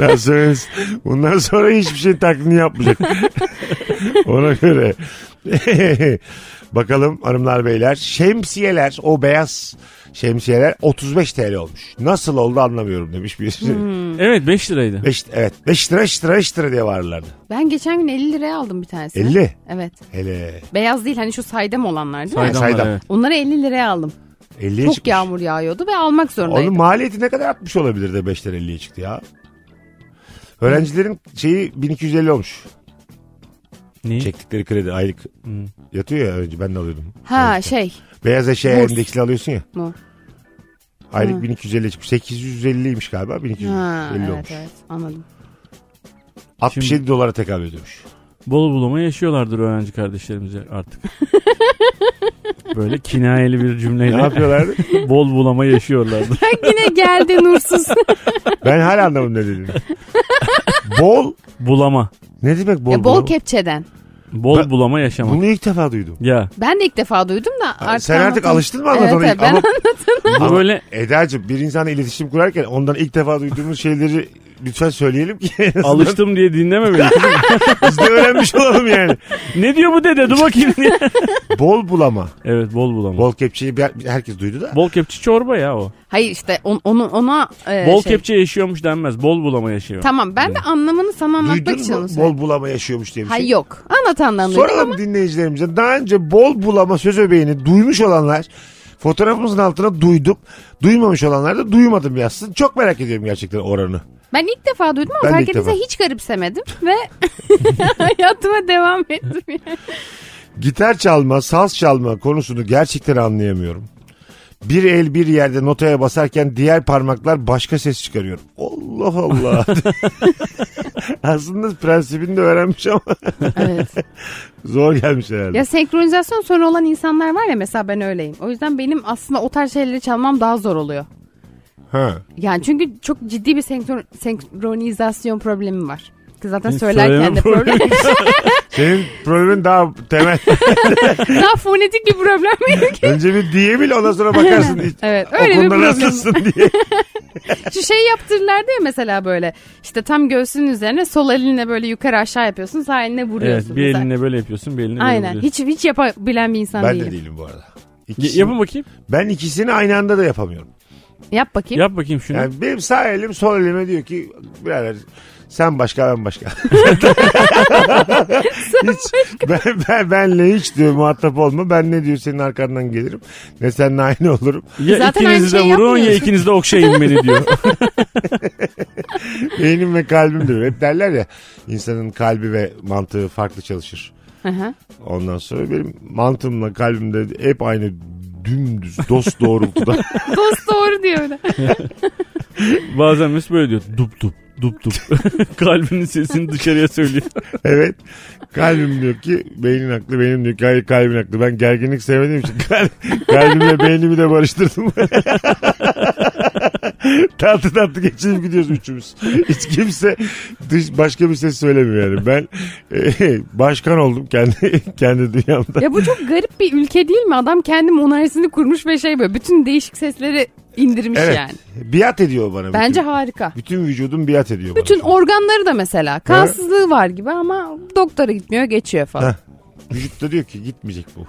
S5: daha söyleyin. Bundan sonra hiçbir şey taklidini yapmayacak. Ona göre. Bakalım hanımlar beyler. Şemsiyeler o beyaz şemsiyeler 35 TL olmuş. Nasıl oldu anlamıyorum demiş bir.
S7: Hmm.
S6: evet 5 liraydı.
S5: Beş, evet 5 lira 5 lira 5 lira diye bağırırlardı.
S7: Ben geçen gün 50 liraya aldım bir tanesini.
S5: 50.
S7: Evet.
S5: Hele.
S7: Beyaz değil hani şu saydam olanlar değil mi?
S5: Saydam.
S6: Saydamlar, evet.
S7: Onları 50 liraya aldım.
S5: 50'ye
S7: Çok
S5: çıkmış.
S7: yağmur yağıyordu ve almak zorundaydım.
S5: Onun maliyeti ne kadar artmış olabilir de 5'ten 50'ye çıktı ya. Öğrencilerin şeyi 1250 olmuş.
S6: Neyi?
S5: Çektikleri kredi aylık.
S6: Hmm.
S5: Yatıyor ya önce ben de alıyordum.
S7: Ha şey.
S5: Beyaz eşeğe
S7: Burs.
S5: endeksli alıyorsun ya.
S7: Burs.
S5: Aylık 1250 çıkmış. 850'ymiş galiba. 1250
S7: Ha, evet
S5: olmuş.
S7: evet anladım.
S5: 67 dolara tekabül ediyormuş.
S6: Bol bulama yaşıyorlardır öğrenci kardeşlerimiz artık. Böyle kinayeli bir
S5: Ne
S6: cümleyle
S5: yapıyorlar?
S6: bol bulama yaşıyorlardır.
S7: Yine geldi nursuz.
S5: ben hala anlamadım ne dediğini. bol
S6: Bulama.
S5: ne demek bol?
S7: Ya, bol
S5: bol
S7: kepçeden.
S6: Bol
S5: Ben-
S6: bulama yaşama.
S5: Bunu ilk defa duydum.
S6: Ya
S7: Ben de ilk defa duydum da artık
S5: Sen artık
S7: anlatayım.
S5: alıştın mı anlatana?
S7: Evet,
S5: ilk?
S7: evet, ben
S5: Ama
S6: bu böyle
S5: Eda'cığım bir insanla iletişim kurarken ondan ilk defa duyduğumuz şeyleri lütfen söyleyelim ki. en azından
S6: alıştım diye dinleme beni.
S5: Biz de öğrenmiş olalım yani.
S6: ne diyor bu dede dur bakayım diye.
S5: Bol bulama.
S6: evet bol bulama. Bol,
S5: Bol kepçeyi bir- herkes duydu da.
S6: kepçe çorba ya o.
S7: Hayır işte on, onu, ona e,
S6: bol
S7: şey-
S6: kepçe yaşıyormuş denmez. Bol bulama yaşıyor.
S7: Tamam ben de anlamını sana anlatmak
S5: Duydun
S7: için
S5: mu
S7: onu söyledim.
S5: bol bulama yaşıyormuş diye bir
S7: Hayır
S5: şey.
S7: yok. Anlatandan duydum
S5: Soralım dinleyicilerimize. Daha önce bol bulama söz öbeğini duymuş olanlar fotoğrafımızın altına duydum. Duymamış olanlar da duymadım yazsın. Çok merak ediyorum gerçekten oranı.
S7: Ben ilk defa duydum
S5: Ben
S7: ama
S5: de
S7: fark
S5: ilk
S7: edince
S5: defa.
S7: hiç garipsemedim ve hayatıma devam ettim. yani.
S5: Gitar çalma, saz çalma konusunu gerçekten anlayamıyorum. Bir el bir yerde notaya basarken diğer parmaklar başka ses çıkarıyor. Allah Allah. Aslında prensibini de öğrenmiş ama
S7: evet.
S5: zor gelmiş herhalde.
S7: Ya senkronizasyon sorunu olan insanlar var ya mesela ben öyleyim. O yüzden benim aslında o tarz şeyleri çalmam daha zor oluyor.
S5: Ha.
S7: Yani çünkü çok ciddi bir senkron- senkronizasyon problemi var. Ki zaten
S6: Senin
S7: söylerken
S6: söyleme
S7: de problem.
S5: Senin problemin daha temel.
S7: daha fonetik bir problem benim.
S5: Önce bir diyebil ondan sonra bakarsın.
S7: Evet, öyle
S5: o
S7: bir
S5: konuda
S7: problem.
S5: nasılsın diye.
S7: Şu şey yaptırırlardı ya mesela böyle. İşte tam göğsünün üzerine sol elinle böyle yukarı aşağı yapıyorsun. Sağ eline
S6: Evet
S7: vuruyorsun.
S6: bir
S7: mesela.
S6: elinle böyle yapıyorsun bir elinle böyle
S7: Aynen.
S6: yapıyorsun.
S7: Hiç hiç yapabilen bir insan
S5: Ben
S7: değilim.
S5: de değilim bu arada.
S6: Y-
S5: İkisini-
S6: yapın bakayım.
S5: ben ikisini aynı anda da yapamıyorum.
S7: Yap bakayım.
S6: Yap bakayım şunu.
S5: Yani benim sağ elim sol elime diyor ki birader sen başka ben başka. hiç, ben, ben, benle hiç diyor muhatap olma. Ben ne diyor senin arkandan gelirim. Ne seninle aynı olurum.
S6: ya
S7: Zaten aynı
S6: ikiniz de
S7: şeyi
S6: vurun ya
S7: yapmıyorsun.
S6: ikiniz de okşayın beni diyor.
S5: Beynim ve kalbim diyor. Hep derler ya insanın kalbi ve mantığı farklı çalışır.
S7: Hı hı.
S5: Ondan sonra benim mantığımla kalbimde hep aynı dümdüz dost doğrultuda.
S7: Dost doğru diyor.
S6: Bazen Mesut böyle diyor. Dup dup dup dup. Kalbinin sesini dışarıya söylüyor.
S5: Evet. Kalbim diyor ki beynin haklı benim diyor ki hayır kalbin haklı. Ben gerginlik sevmediğim için kal- kalbimle beynimi de barıştırdım. tatlı tatlı geçinip gidiyoruz üçümüz. Hiç kimse dış, başka bir ses söylemiyor yani. Ben e, başkan oldum kendi kendi dünyamda.
S7: Ya bu çok garip bir ülke değil mi? Adam kendi monarşisini kurmuş ve şey böyle bütün değişik sesleri indirmiş
S5: Evet.
S7: yani.
S5: Biat ediyor bana. bütün-
S7: Bence harika.
S5: Bütün vücudum biat ediyor
S7: Bütün organları da mesela kansızlığı var gibi ama doktora gitmiyor geçiyor falan.
S5: Heh. bana. Vücut da diyor ki gitmeyecek bu.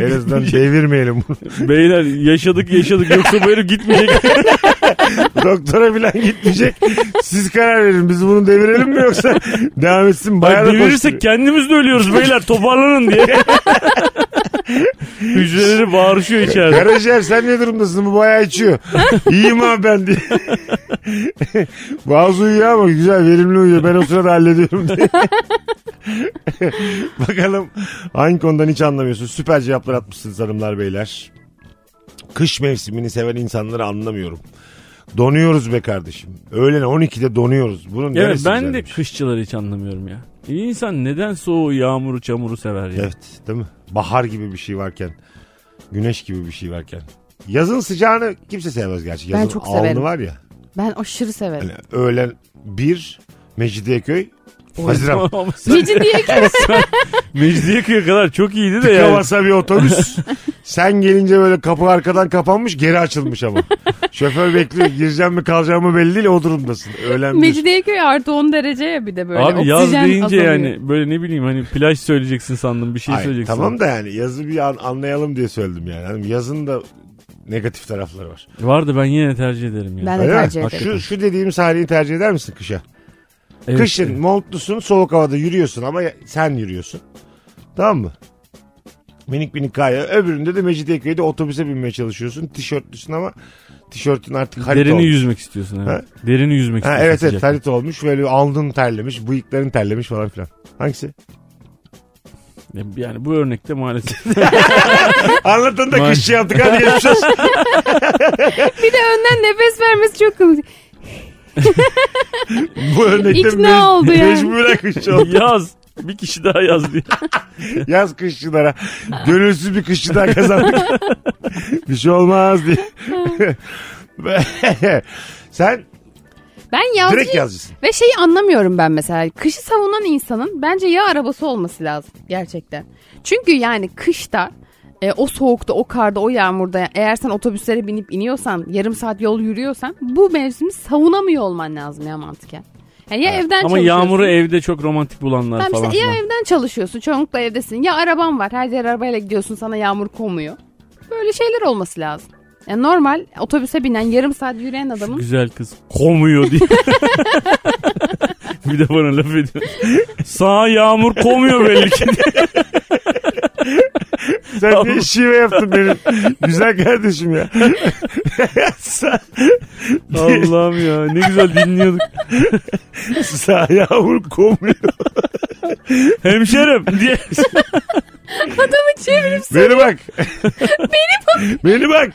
S5: En azından devirmeyelim bunu.
S6: Beyler yaşadık yaşadık yoksa böyle gitmeyecek.
S5: Doktora falan gitmeyecek. Siz karar verin. Biz bunu devirelim mi yoksa devam etsin? Bayağı
S6: Bak
S5: da
S6: devirirsek
S5: koşturuyor.
S6: kendimiz de ölüyoruz beyler toparlanın diye. Hücreleri bağırışıyor içeride.
S5: Karaciğer sen ne durumdasın? Bu bayağı içiyor. İyiyim abi ben diye. Bazı uyuyor ama güzel verimli uyuyor. Ben o sırada hallediyorum diye. Bakalım hangi konudan hiç anlamıyorsun. Süper cevaplar atmışsınız hanımlar beyler. Kış mevsimini seven insanları anlamıyorum. Donuyoruz be kardeşim. Öğlen 12'de donuyoruz. Bunun
S6: Evet
S5: neresi
S6: ben de
S5: güzelmiş?
S6: kışçıları hiç anlamıyorum ya. İnsan neden soğuğu, yağmuru, çamuru sever ya?
S5: Evet değil mi? Bahar gibi bir şey varken. Güneş gibi bir şey varken. Yazın sıcağını kimse sevmez gerçi.
S7: Ben
S5: Yazın
S7: çok
S5: alnı
S7: severim.
S5: var ya.
S7: Ben aşırı severim.
S5: Hani öğlen bir Mecidiyeköy. Haziran.
S6: Ama sen
S7: Cici diye ki
S6: Mecidiyeköy'e kadar çok iyiydi de
S5: Tıka
S6: yani.
S5: basa bir otobüs. Sen gelince böyle kapı arkadan kapanmış geri açılmış ama. Şoför bekliyor. Gireceğim mi kalacağım mı belli değil o durumdasın. Öğlen bir.
S7: Mecidiyeköy artı 10 derece ya bir de böyle.
S6: Abi yaz
S7: Oksijen
S6: deyince
S7: azalıyor.
S6: yani böyle ne bileyim hani plaj söyleyeceksin sandım bir şey
S5: Ay,
S6: söyleyeceksin.
S5: tamam da yani yazı bir an, anlayalım diye söyledim yani. Hani yazın da negatif tarafları var.
S6: Vardı ben yine tercih ederim ya.
S7: Ben de
S5: Öyle mi?
S7: tercih ederim.
S5: Şu, şu dediğim sahneyi tercih eder misin kışa?
S6: Evet.
S5: Kışın montlusun soğuk havada yürüyorsun ama ya- sen yürüyorsun. Tamam mı? Minik minik kaya. Öbüründe de Mecidiyeköy'de otobüse binmeye çalışıyorsun. Tişörtlüsün ama tişörtün artık harita
S6: Derini
S5: olmuş.
S6: yüzmek istiyorsun evet.
S5: Ha?
S6: Derini yüzmek
S5: Ha,
S6: istiyorsun.
S5: evet evet
S6: sıcakta.
S5: harita olmuş. Böyle alnın terlemiş, bıyıkların terlemiş falan filan. Hangisi?
S6: Yani bu örnekte maalesef.
S5: Anlatan da kışçı yaptık hadi geçmiş olsun.
S7: Bir de önden nefes vermesi çok komik.
S5: Bu örnekte
S7: İkna oldu yani.
S5: mecburen kışçı oldu.
S6: yaz. Bir kişi daha yaz diye.
S5: Yaz kışçılara. Gönülsüz bir kışçı daha kazandık. bir şey olmaz diye. Sen
S7: Ben yazcıyım
S5: direkt yazıcısın.
S7: ve şeyi anlamıyorum ben mesela. Kışı savunan insanın bence ya arabası olması lazım gerçekten. Çünkü yani kışta e, o soğukta, o karda, o yağmurda eğer sen otobüslere binip iniyorsan, yarım saat yol yürüyorsan bu mevsimi savunamıyor olman lazım ya mantıken. Yani ya
S6: Ama
S7: evden çalışıyorsun.
S6: yağmuru evde çok romantik bulanlar
S7: Tamam
S6: falan.
S7: işte ya
S6: filan.
S7: evden çalışıyorsun çoğunlukla evdesin ya araban var her yer arabayla gidiyorsun sana yağmur komuyor. Böyle şeyler olması lazım. Yani normal otobüse binen yarım saat yürüyen adamın
S6: Güzel kız komuyor diye. bir de bana laf ediyor. Sağ yağmur komuyor belli ki.
S5: Sen ne şive yaptın benim güzel kardeşim ya. sağ,
S6: Allah'ım ya ne güzel dinliyorduk.
S5: sağ yağmur komuyor.
S6: Hemşerim diye.
S7: adamı çevirip
S5: Beni bak. beni bak. beni bak.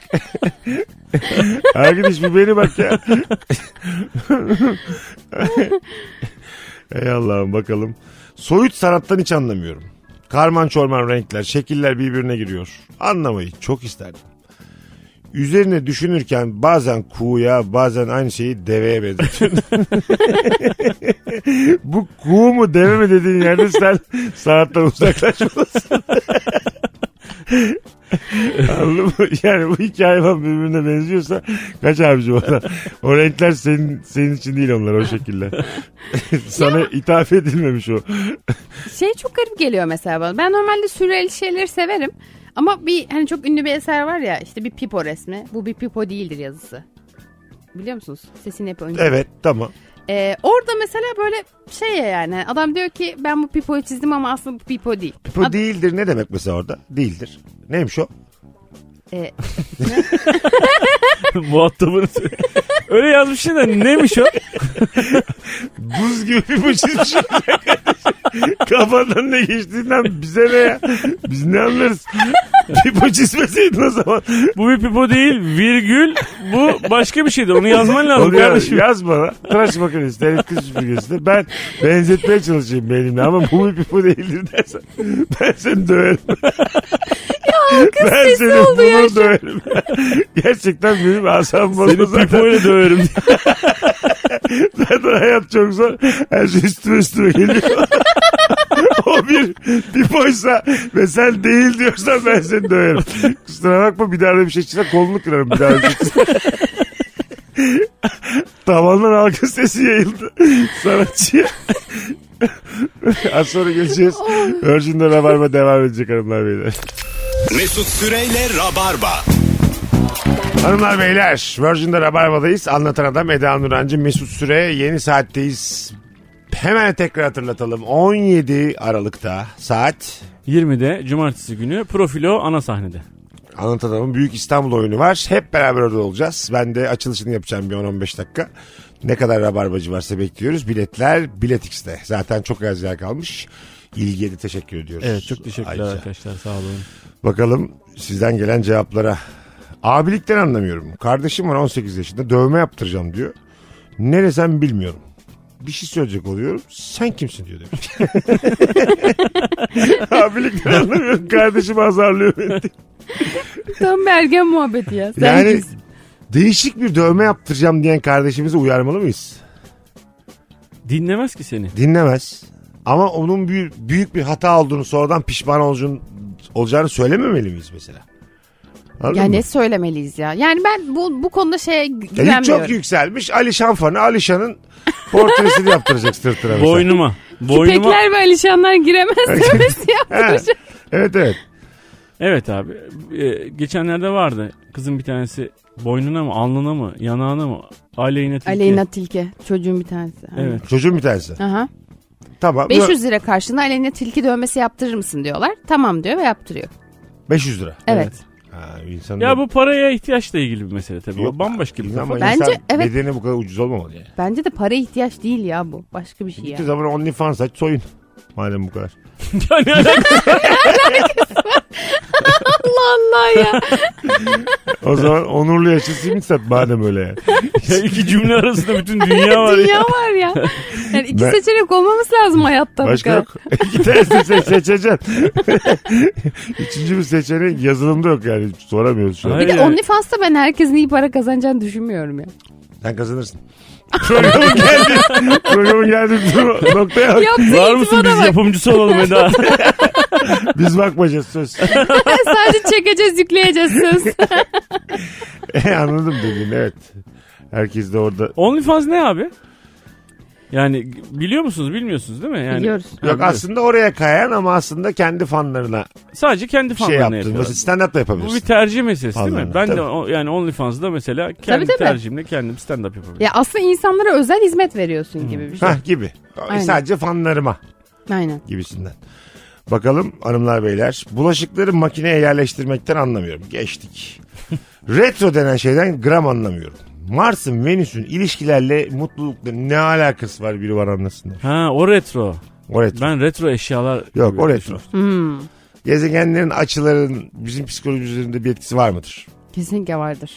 S5: Arkadaş bir beni bak ya. Ey Allah'ım bakalım. Soyut sanattan hiç anlamıyorum. Karman çorman renkler, şekiller birbirine giriyor. Anlamayı çok isterdim. Üzerine düşünürken bazen kuğuya bazen aynı şeyi deveye benzetiyorsun. Bu kuğu mu deve mi dediğin yerde sen sanattan uzaklaşmalısın. Anladın mı? Yani bu iki hayvan birbirine benziyorsa kaç abici bana. O renkler senin, senin için değil onlar o şekiller. Sana ithaf edilmemiş o.
S7: şey çok garip geliyor mesela bana. Ben normalde sürreal şeyleri severim. Ama bir hani çok ünlü bir eser var ya işte bir pipo resmi. Bu bir pipo değildir yazısı. Biliyor musunuz? Sesini hep önce.
S5: Evet tamam.
S7: Ee, orada mesela böyle şey ya yani adam diyor ki ben bu pipoyu çizdim ama aslında bu pipo değil.
S5: Pipo değildir ne demek mesela orada? Değildir. Neymiş o?
S7: Ee,
S6: Muhatabını söyle. Öyle yazmışsın da neymiş o?
S5: Buz gibi pipo çizmiş. Kafandan ne geçtiğinden bize ne ya? Biz ne anlarız? Pipo çizmeseydin o zaman.
S6: Bu bir pipo değil virgül bu başka bir şeydi onu yazman lazım
S5: Onu yaz,
S6: kardeşim.
S5: yaz bana. Tıraş makinesi, telif kız süpürgesi de. Ben benzetmeye çalışayım benimle ama bu bir pipo değildir dersen. Ben seni döverim. ben seni
S7: oldu ya
S5: bunu
S7: şu-
S5: döverim. Gerçekten benim asabım bozma
S6: Seni
S5: zaten.
S6: pipo ile döverim.
S5: Zaten hayat çok zor. Her şey üstüme üstüme geliyor. o bir pipoysa ve sen değil diyorsan ben seni döverim. Kusura bakma bir daha öyle bir şey çıksa kolunu kırarım bir daha. öyle bir şey çıksa. Tavandan halkın sesi yayıldı. Sanatçıya. Az sonra geleceğiz. Virgin'de Rabarba devam edecek hanımlar beyler.
S4: Mesut Süreyle Rabarba.
S5: Hanımlar beyler Virgin'de Rabarba'dayız. Anlatan adam Eda Nurancı Mesut Süre yeni saatteyiz. Hemen tekrar hatırlatalım. 17 Aralık'ta saat
S6: 20'de cumartesi günü profilo ana sahnede.
S5: Anlatan Adam'ın Büyük İstanbul oyunu var. Hep beraber orada olacağız. Ben de açılışını yapacağım bir 10-15 dakika. Ne kadar rabarbacı varsa bekliyoruz. Biletler Biletix'te. Zaten çok az yer kalmış. İlgiye de teşekkür ediyoruz.
S6: Evet çok teşekkürler
S5: Ayrıca.
S6: arkadaşlar sağ olun.
S5: Bakalım sizden gelen cevaplara. Abilikten anlamıyorum. Kardeşim var 18 yaşında dövme yaptıracağım diyor. Neresen bilmiyorum. Bir şey söyleyecek oluyorum. Sen kimsin diyor demiş. Abilikten anlamıyorum. Kardeşim azarlıyor beni. diye.
S7: Tam bir ergen muhabbeti ya. Sen
S5: Yani
S7: kimsin?
S5: değişik bir dövme yaptıracağım diyen kardeşimizi uyarmalı mıyız?
S6: Dinlemez ki seni.
S5: Dinlemez. Ama onun büyük, büyük bir hata olduğunu sonradan pişman olacağını, olacağını söylememeli miyiz mesela? Anladın
S7: Ya
S5: mı?
S7: ne söylemeliyiz ya? Yani ben bu, bu konuda şeye
S5: Ya yük çok
S7: güvenmiyorum.
S5: yükselmiş. Alişan fanı Alişan'ın portresini yaptıracak sırtına mesela.
S6: Boynuma. Boynuma.
S7: Küpekler ve alişanlar giremez demesi
S5: Ha,
S7: yaptıracak.
S5: evet evet.
S6: Evet abi. Ee, geçenlerde vardı. Kızın bir tanesi boynuna mı, alnına mı, yanağına mı? Aleyna Tilki.
S7: Aleyna Tilki çocuğun bir tanesi.
S6: Evet.
S5: Çocuğun bir tanesi.
S7: Aha.
S5: Tamam.
S7: 500 lira karşılığında Aleyna Tilki dövmesi yaptırır mısın diyorlar. Tamam diyor ve yaptırıyor.
S5: 500 lira.
S7: Evet.
S5: Ha, insan
S6: Ya bu paraya ihtiyaçla ilgili bir mesele tabii.
S5: Yok.
S6: O bambaşka bir
S5: insan,
S6: kafa.
S5: ama
S7: Bence
S5: insan
S7: evet.
S5: bedeni bu kadar ucuz olmamalı yani.
S7: Bence de para ihtiyaç değil ya bu. Başka bir şey ya.
S5: Hiçbir zaman OnlyFans aç soyun. Madem bu kadar.
S6: Ya ne alaka?
S7: Allah Allah ya.
S5: O zaman onurlu yaşlı simit sat madem öyle yani.
S6: Ya iki cümle arasında bütün dünya var ya.
S7: Dünya var ya. Yani iki
S5: Ben-
S7: seçenek olmamız lazım hayatta. bu
S5: Başka
S7: kadar.
S5: yok. İki tanesini se- seçeceksin. Üçüncü bir seçenek yazılımda yok yani. Soramıyoruz şu an.
S7: Bir
S6: Hayır.
S7: de OnlyFans'ta ben herkesin iyi para kazanacağını düşünmüyorum ya.
S5: Sen kazanırsın. Programın geldi. Programın geldi. Noktaya bak.
S7: Yaptığı
S6: Var
S7: iltifata
S6: mısın biz
S7: bak.
S6: yapımcısı olalım Eda?
S5: Biz bakmayacağız söz.
S7: Sadece çekeceğiz yükleyeceğiz söz.
S5: E, anladım dedim evet. Herkes de orada.
S6: OnlyFans ne abi? Yani biliyor musunuz bilmiyorsunuz değil mi? Yani
S7: Biliyoruz.
S6: Ha,
S5: Yok
S6: biliyoruz.
S5: aslında oraya kayan ama aslında kendi fanlarına
S6: Sadece kendi
S5: şey
S6: fanlarına
S5: yaptın.
S6: yapıyorlar.
S5: Mesela stand up da
S6: Bu bir
S5: yapabilirsin.
S6: tercih meselesi değil
S5: Fanlarına,
S6: mi? Ben
S5: tabii.
S6: de o, yani OnlyFans'da mesela kendi
S7: tabii.
S6: tercihimle kendim stand-up yapabilirim.
S7: ya aslında insanlara özel hizmet
S5: Hmm.
S7: veriyorsun gibi bir şey.
S5: Hah gibi. E,
S7: Aynen.
S5: Sadece fanlarıma
S7: Aynen.
S5: gibisinden. Bakalım hanımlar beyler. Bulaşıkları makineye yerleştirmekten anlamıyorum. Geçtik. Retro denen şeyden gram anlamıyorum. Mars'ın Venüs'ün ilişkilerle mutlulukların ne alakası var biri var anlasın.
S6: Ha o retro.
S5: O retro.
S6: Ben retro eşyalar...
S5: Yok
S6: gibi
S5: o retro.
S6: düşünüyorum.
S7: Hmm.
S5: Gezegenlerin açıların bizim psikolojimiz üzerinde bir etkisi var mıdır?
S7: Kesinlikle vardır.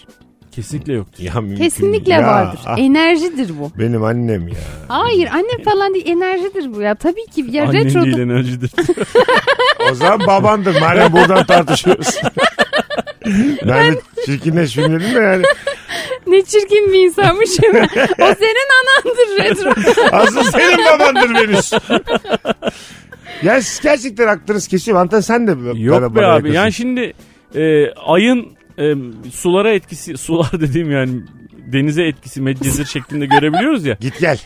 S6: Kesinlikle yoktur.
S5: Ya mümkün
S7: Kesinlikle
S5: değil. Ya,
S7: vardır.
S5: ah,
S7: Enerjidir bu.
S5: benim annem ya.
S7: Hayır annem falan değil enerjidir bu ya. Tabii ki ya
S6: Annem
S7: retro
S6: değil enerjidir.
S5: O zaman babandır. Madem buradan tartışıyoruz. ben de çirkinleş filmlerim de yani.
S7: ne çirkin bir insanmış hemen. o senin anandır retro.
S5: Asıl senin babandır Venüs. ya siz gerçekten aklınız kesiyor. Antan sen de bana-
S6: Yok be
S5: bana
S6: abi.
S5: yakınsın.
S6: Yani şimdi e, ayın e, sulara etkisi, sular dediğim yani denize etkisi medcezir şeklinde görebiliyoruz ya.
S5: Git gel.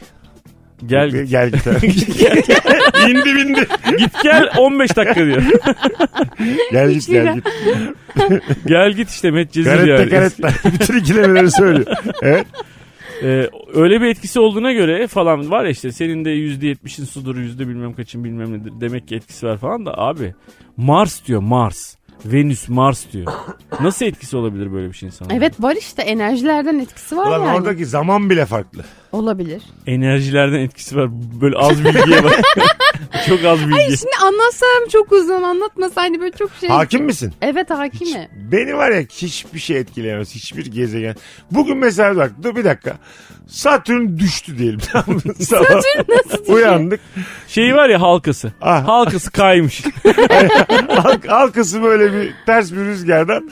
S6: Gel
S5: Gel gel. git. bindi bindi.
S6: git gel 15 dakika diyor.
S5: Gel git gel git.
S6: Gel git işte medcezir
S5: Karette
S6: yani.
S5: karette. Bütün ikilemeleri söylüyor. Evet.
S6: Ee, öyle bir etkisi olduğuna göre falan var ya işte senin de %70'in sudur yüzde bilmem kaçın bilmem nedir demek ki etkisi var falan da abi Mars diyor Mars. Venüs Mars diyor. Nasıl etkisi olabilir böyle bir şey insana?
S7: evet var işte enerjilerden etkisi var
S5: Ulan
S7: yani.
S5: oradaki zaman bile farklı.
S7: Olabilir.
S6: Enerjilerden etkisi var. Böyle az bilgiye bak. Çok az bilgi.
S7: Şimdi anlatsam çok uzun anlatmasa hani böyle çok şey.
S5: Hakim misin?
S7: Evet hakimi.
S5: Beni var ya hiçbir şey etkileyemez. Hiçbir gezegen. Bugün mesela bak dur bir dakika. Satürn düştü diyelim. Satürn
S7: Nasıl düşün-
S5: Uyandık.
S6: Şey var ya halkası.
S5: Ah.
S6: Halkası kaymış.
S5: Halk, halkası böyle bir ters bir rüzgardan.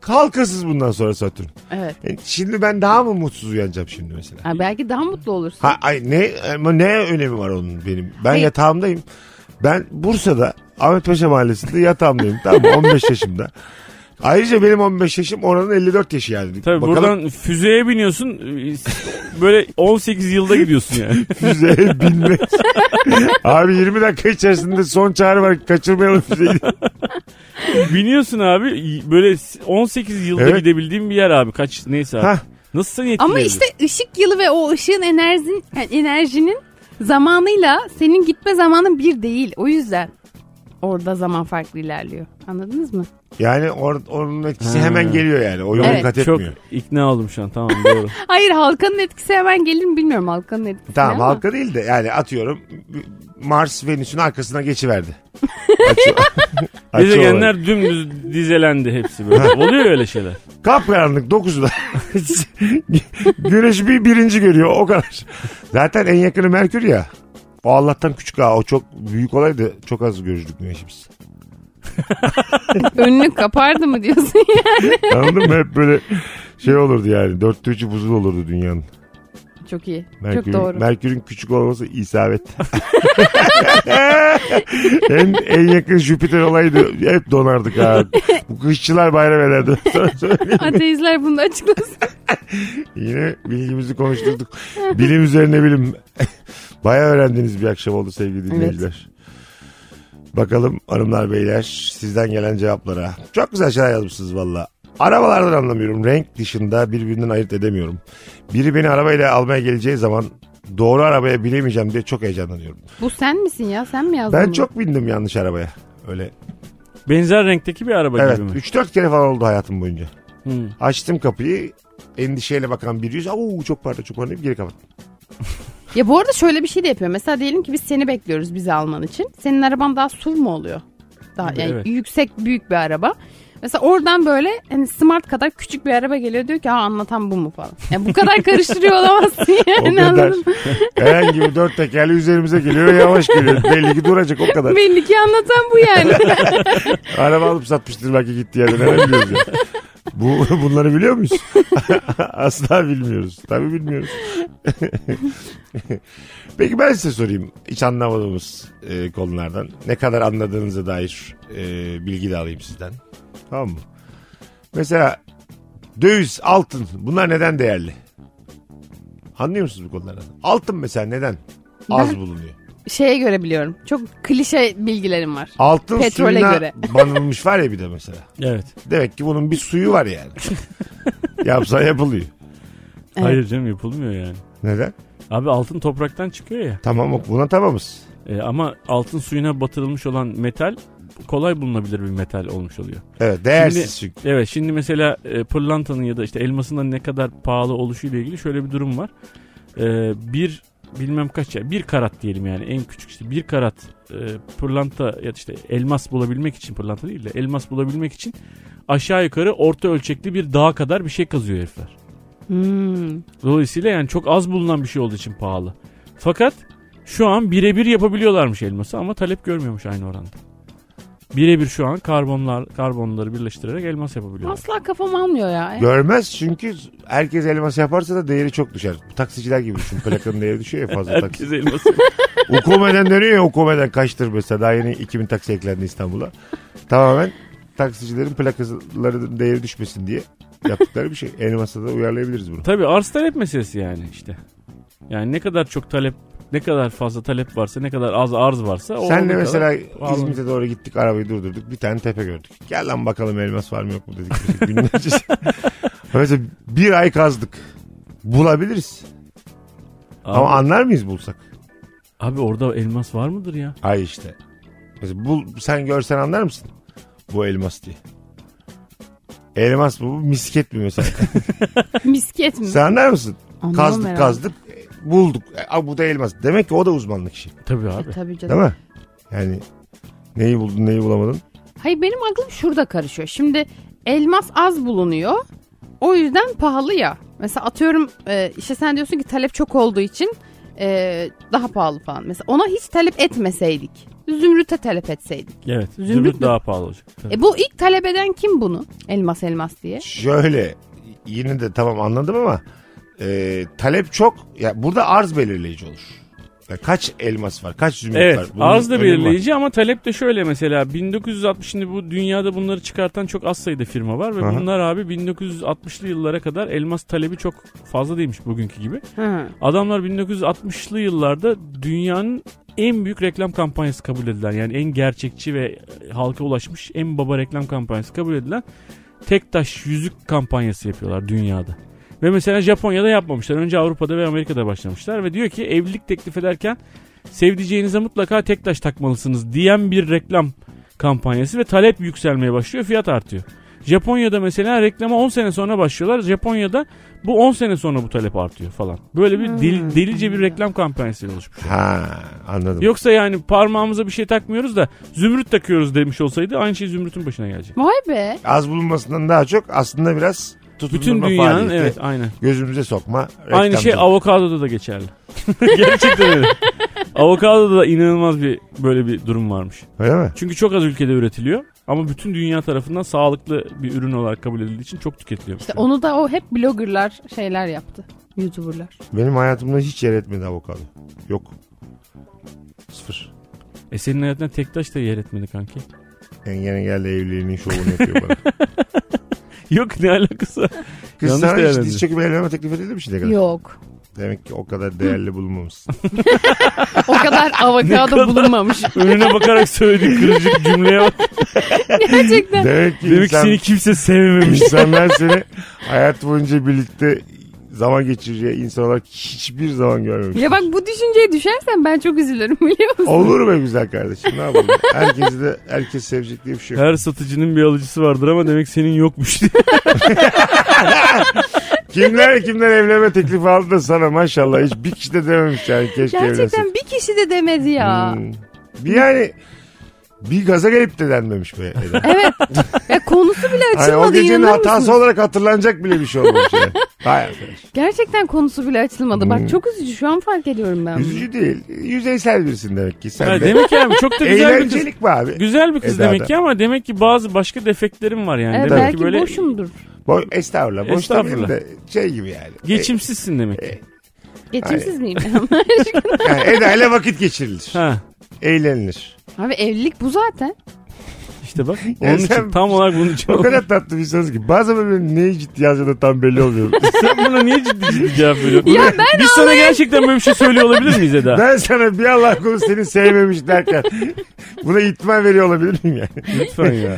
S5: Halkasız bundan sonra Satürn.
S7: Evet.
S5: E, Şimdi ben daha mı mutsuz uyanacağım şimdi mesela?
S7: Ha, belki daha mutlu olursun.
S5: Ha, ay, ne ama ne önemi var onun benim? Ben
S7: Hayır.
S5: yatağımdayım. Ben Bursa'da Ahmet Paşa Mahallesi'nde yatağımdayım. tamam mı? 15 yaşımda. Ayrıca benim 15 yaşım oranın 54 yaşı yani. Bakalım
S6: Tabii buradan füzeye biniyorsun. Böyle 18 yılda gidiyorsun yani.
S5: füzeye binmek. Abi 20 dakika içerisinde son çağrı var. Kaçırmayalım füzeyi.
S6: Biniyorsun abi böyle 18 yılda
S5: Evet.
S6: gidebildiğin bir yer abi. Kaç neyse abi.
S5: Hah.
S6: Nasıl seni
S7: Ama
S6: etkileyebilir?
S7: işte ışık yılı ve o ışığın enerjin, yani enerjinin zamanıyla senin gitme zamanın bir değil. O yüzden orada zaman farklı ilerliyor. Anladınız mı?
S5: Yani or- onun etkisi
S6: Ha.
S5: hemen geliyor yani. O yolu
S7: Evet.
S5: kat
S6: Çok
S5: etmiyor.
S6: ikna oldum şu an tamam doğru.
S7: Hayır halkanın etkisi hemen gelir mi bilmiyorum halkanın etkisi.
S5: Tamam
S7: ama.
S5: halka değil de yani atıyorum Mars Venüs'ün arkasına geçiverdi. Açı-
S6: Gezegenler dümdüz dizelendi hepsi böyle. Oluyor öyle şeyler.
S5: Kapkaranlık 9'da. Güneş bir birinci görüyor o kadar. Zaten en yakını Merkür ya. O Allah'tan küçük ha o çok büyük olaydı çok az görürdük güneşimiz.
S7: Önünü kapardı mı diyorsun ya?
S5: Anladın mı? Hep böyle şey olurdu yani. Dörtte üçü buzul olurdu dünyanın.
S7: Çok iyi.
S5: Merkür'ün,
S7: Çok doğru.
S5: Merkür'ün küçük olması isabet. en, en yakın Jüpiter olaydı. Hep donardık ha. Bu kışçılar bayram ederdi. Sana söyleyeyim.
S7: Ateistler bunu açıklasın.
S5: Yine bilgimizi konuşturduk. Bilim üzerine bilim. Bayağı öğrendiğiniz bir akşam oldu sevgili dinleyiciler. Bakalım hanımlar beyler sizden gelen cevaplara. Çok güzel şeyler yazmışsınız valla. Arabalardan anlamıyorum. Renk dışında birbirinden ayırt edemiyorum. Biri beni arabayla almaya geleceği zaman doğru arabaya bilemeyeceğim diye çok heyecanlanıyorum.
S7: Bu sen misin ya? Sen mi yazdın
S5: Ben
S7: bunu?
S5: çok bindim yanlış arabaya. Öyle.
S6: Benzer renkteki bir araba
S5: Evet.
S6: gibi mi?
S5: 3-4 kere falan oldu hayatım boyunca.
S6: Hmm.
S5: Açtım kapıyı. Endişeyle bakan bir yüz. Au çok pardon çok pardon deyip geri kapattım.
S7: Ya bu arada şöyle bir şey de yapıyor. Mesela diyelim ki biz seni bekliyoruz bizi alman için. Senin araban daha SUV mu oluyor? Daha yani
S6: Evet.
S7: yüksek büyük bir araba. Mesela oradan böyle hani smart kadar küçük bir araba geliyor diyor ki ha anlatan bu mu falan. Yani bu kadar karıştırıyor olamazsın
S5: O
S7: yani
S5: kadar.
S7: anladın mı?
S5: Herhangi bir dört tekerli üzerimize geliyor yavaş geliyor. Belli ki duracak o kadar.
S7: Belli ki anlatan bu yani.
S5: Araba alıp satmıştır belki gitti yerden. Ne biliyoruz ya. Bu, bunları biliyor muyuz? Asla bilmiyoruz. Tabii bilmiyoruz. Peki ben size sorayım. Hiç anlamadığımız e, konulardan. Ne kadar anladığınıza dair e, bilgi de alayım sizden. Tamam mı? Mesela döviz, altın bunlar neden değerli? Anlıyor musunuz bu konulardan? Altın mesela neden az
S7: Ben-
S5: bulunuyor?
S7: Şeye göre biliyorum. Çok klişe bilgilerim var.
S5: Altın
S7: Petrole
S5: suyuna
S7: göre.
S5: banılmış var ya bir de mesela.
S6: Evet.
S5: Demek ki bunun bir suyu var yani. Yapsa yapılıyor.
S7: Evet.
S6: Hayır canım yapılmıyor yani.
S5: Neden?
S6: Abi altın topraktan çıkıyor ya.
S5: Tamam ok, buna tamamız.
S6: E, ama altın suyuna batırılmış olan metal kolay bulunabilir bir metal olmuş oluyor.
S5: Evet değersiz
S6: Şimdi-
S5: çünkü.
S6: Evet şimdi mesela e, pırlantanın ya da işte elmasın da ne kadar pahalı oluşuyla ilgili şöyle bir durum var. E, bir bilmem kaç ya bir karat diyelim yani en küçük işte bir karat e, pırlanta ya da işte elmas bulabilmek için pırlanta değil de elmas bulabilmek için aşağı yukarı orta ölçekli bir dağa kadar bir şey kazıyor herifler.
S7: Hmm.
S6: Dolayısıyla yani çok az bulunan bir şey olduğu için pahalı. Fakat şu an birebir yapabiliyorlarmış elması ama talep görmüyormuş aynı oranda. Birebir şu an karbonlar karbonları birleştirerek elmas yapabiliyorlar.
S7: Asla kafam almıyor ya.
S5: Görmez çünkü herkes elmas yaparsa da değeri çok düşer. Bu taksiciler gibi düşün. Plakanın değeri düşüyor ya fazla taksi.
S6: Herkes elması.
S5: Ukome'den dönüyor ya Ukome'den kaçtır mesela. Daha yeni 2000 taksi eklendi İstanbul'a. Tamamen taksicilerin plakalarının değeri düşmesin diye yaptıkları bir şey. Elmas'a da uyarlayabiliriz bunu.
S6: Tabii arz talep meselesi yani işte. Yani ne kadar çok talep ne kadar fazla talep varsa ne kadar az arz varsa o
S5: Senle
S6: ne
S5: mesela
S6: Vallahi.
S5: İzmit'e doğru gittik arabayı durdurduk bir tane tepe gördük. Gel lan bakalım elmas var mı yok mu dedik. Biz Günlerce. mesela bir ay kazdık. Bulabiliriz.
S6: Abi,
S5: Ama anlar mıyız bulsak?
S6: abi orada elmas var mıdır ya?
S5: Ay işte. Mesela bul, sen görsen anlar mısın? Bu elmas diye. Elmas mı bu misket mi mesela?
S7: Misket mi?
S5: sen anlar mısın?
S7: Anlamam
S5: Kazdık
S7: herhalde.
S5: kazdık e, bulduk. E, "Aa, bu da elmas. Demek ki o da uzmanlık işi.
S6: Tabii
S7: E,
S6: abi.
S7: tabii canım.
S5: Değil mi? Yani neyi buldun neyi bulamadın.
S7: Hayır benim aklım şurada karışıyor. Şimdi elmas az bulunuyor. O yüzden pahalı ya. Mesela atıyorum e, işte sen diyorsun ki talep çok olduğu için e, daha pahalı falan. Mesela ona hiç talep etmeseydik. Zümrüt'e talep etseydik.
S6: Evet. Zümrüt,
S7: Zümrüt mü?
S6: daha pahalı olacak. Tabii.
S7: E bu ilk talep eden kim bunu? Elmas elmas diye.
S5: Şöyle yine de tamam anladım ama e, talep çok. Ya burada arz belirleyici olur. Ya kaç elmas var? Kaç zümrüt var?
S6: Evet
S5: Bunun
S6: arz da
S5: önemi var.
S6: belirleyici ama talep de şöyle mesela 1960 şimdi bu dünyada bunları çıkartan çok az sayıda firma var ve
S5: Aha.
S6: bunlar abi 1960'lı yıllara kadar elmas talebi çok fazla değilmiş bugünkü gibi.
S7: Hı.
S6: Adamlar 1960'lı yıllarda dünyanın en büyük reklam kampanyası kabul edilen yani en gerçekçi ve halka ulaşmış en baba reklam kampanyası kabul edilen tek taş yüzük kampanyası yapıyorlar dünyada. Ve mesela Japonya'da yapmamışlar. Önce Avrupa'da ve Amerika'da başlamışlar ve diyor ki evlilik teklif ederken sevdiceğinize mutlaka tek taş takmalısınız diyen bir reklam kampanyası ve talep yükselmeye başlıyor, fiyat artıyor. Japonya'da mesela reklama 10 sene sonra başlıyorlar. Japonya'da bu 10 sene sonra bu talep artıyor falan. Böyle bir
S7: Hmm.
S6: deli- delice bir reklam kampanyası oluşmuş.
S5: Ha anladım.
S6: Yoksa yani parmağımıza bir şey takmıyoruz da zümrüt takıyoruz demiş olsaydı aynı şey zümrütün başına gelecek.
S7: Vay be.
S5: Az bulunmasından daha çok aslında biraz
S6: Bütün
S5: tutundurma
S6: dünyanın
S5: faaliyeti.
S6: evet aynen.
S5: Gözümüze sokma.
S6: Aynı şey
S5: reklamcılık.
S6: avokadoda da geçerli. Gerçekten öyle. avokadoda da inanılmaz bir böyle bir durum varmış.
S5: Öyle mi?
S6: Çünkü çok az ülkede üretiliyor ama bütün dünya tarafından sağlıklı bir ürün olarak kabul edildiği için çok tüketiliyor.
S7: İşte onu da o hep bloggerlar şeyler yaptı. Youtuberlar.
S5: Benim hayatımda hiç yer etmedi avokado. Yok. Sıfır.
S6: E senin hayatına tek taş da yer etmedi kanki.
S5: Engene geldi evliliğinin şovunu yapıyor bana.
S6: Yok ne alakası var?
S5: Kız
S6: Yanlış
S5: sana hiç
S6: değerlendirdin.
S5: diz çöküp evlenme teklif edildi mi şimdiye kadar?
S7: Yok.
S5: Demek ki o kadar değerli bulunmamışsın.
S7: O kadar avokado bulunmamış.
S6: Önüne bakarak söylediğin kırıcı cümleye bak.
S7: Gerçekten.
S5: Demek ki
S6: Demek ki
S5: insan-
S6: seni kimse sevmemiş.
S5: insanlar seni hayat boyunca birlikte zaman geçireceği insan olarak hiçbir zaman görmemiş.
S7: Ya bak bu düşünceye düşersen ben çok üzülürüm biliyor musun?
S5: Olur mu güzel kardeşim ne yapalım? Herkesi de herkes sevecek diye bir şey yok.
S6: Her satıcının bir alıcısı vardır ama demek senin yokmuş diye.
S5: Kimler kimler evlenme teklifi aldı da sana maşallah hiç bir kişi de dememiş yani keşke evlensin.
S7: Gerçekten bir kişi de demedi ya.
S5: Hmm. Bir yani bir gaza gelip de denmemiş be. Eda.
S7: Evet. Ya konusu bile
S5: Hani o
S7: açılmadı
S5: gecenin
S7: inanır
S5: hatası
S7: mısın?
S5: olarak hatırlanacak bile bir şey olmamış yani. Vay arkadaş.
S7: Gerçekten konusu bile açılmadı.
S5: Hmm.
S7: Bak çok üzücü şu an fark ediyorum ben.
S5: Üzücü değil. Yüzeysel birisin demek ki. Sen
S6: Ha,
S5: de.
S6: demek ki abi çok da güzel bir kız.
S5: Eğlencelik mi abi?
S6: Güzel bir kız
S5: Eda'da.
S6: demek ki ama demek ki bazı başka defeklerim var yani.
S7: Evet,
S6: demek
S7: belki
S6: ki böyle
S7: boşumdur.
S5: Boy, estağfurullah. Boş
S6: Estağfurullah.
S5: estağfurullah. De şey gibi yani.
S6: geçimsizsin demek ki.
S7: Geçimsiz miyim?
S5: E, yani Eda ile vakit geçirilir.
S6: Ha.
S5: Eğlenilir.
S7: Abi evlilik bu zaten.
S6: İşte bak
S5: Ya
S6: onun
S5: sen-
S6: için tam olarak bunun için.
S5: O kadar tatlı bir söz ki. Bazen böyle neyi ciddi yazdığında tam belli olmuyor.
S6: Sen buna niye ciddi ciddi cevap veriyorsun?
S7: Ya ben
S6: Biz sana gerçekten böyle bir şey söylüyor olabilir miyiz Eda?
S5: ben sana bir Allah kulu seni sevmemiş derken buna itman veriyor olabilir miyim yani?
S6: Lütfen ya.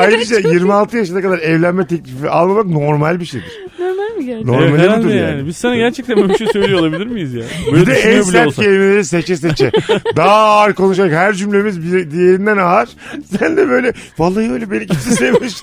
S5: Ayrıca 26 yaşına kadar evlenme teklifi almamak normal bir şeydir.
S7: Normal mi gerçekten?
S5: Normali
S6: Evet, herhalde
S5: budur yani.
S6: yani. Biz sana gerçekten böyle bir şey söylüyor olabilir miyiz ya? Böyle
S5: bir de en
S6: düşünüyor bile
S5: sert
S6: olsak.
S5: kelimeleri seçe seçe. Daha ağır konuşarak her cümlemiz bir, diğerinden ağır. Sen de böyle vallahi öyle beni kimse sevmiş.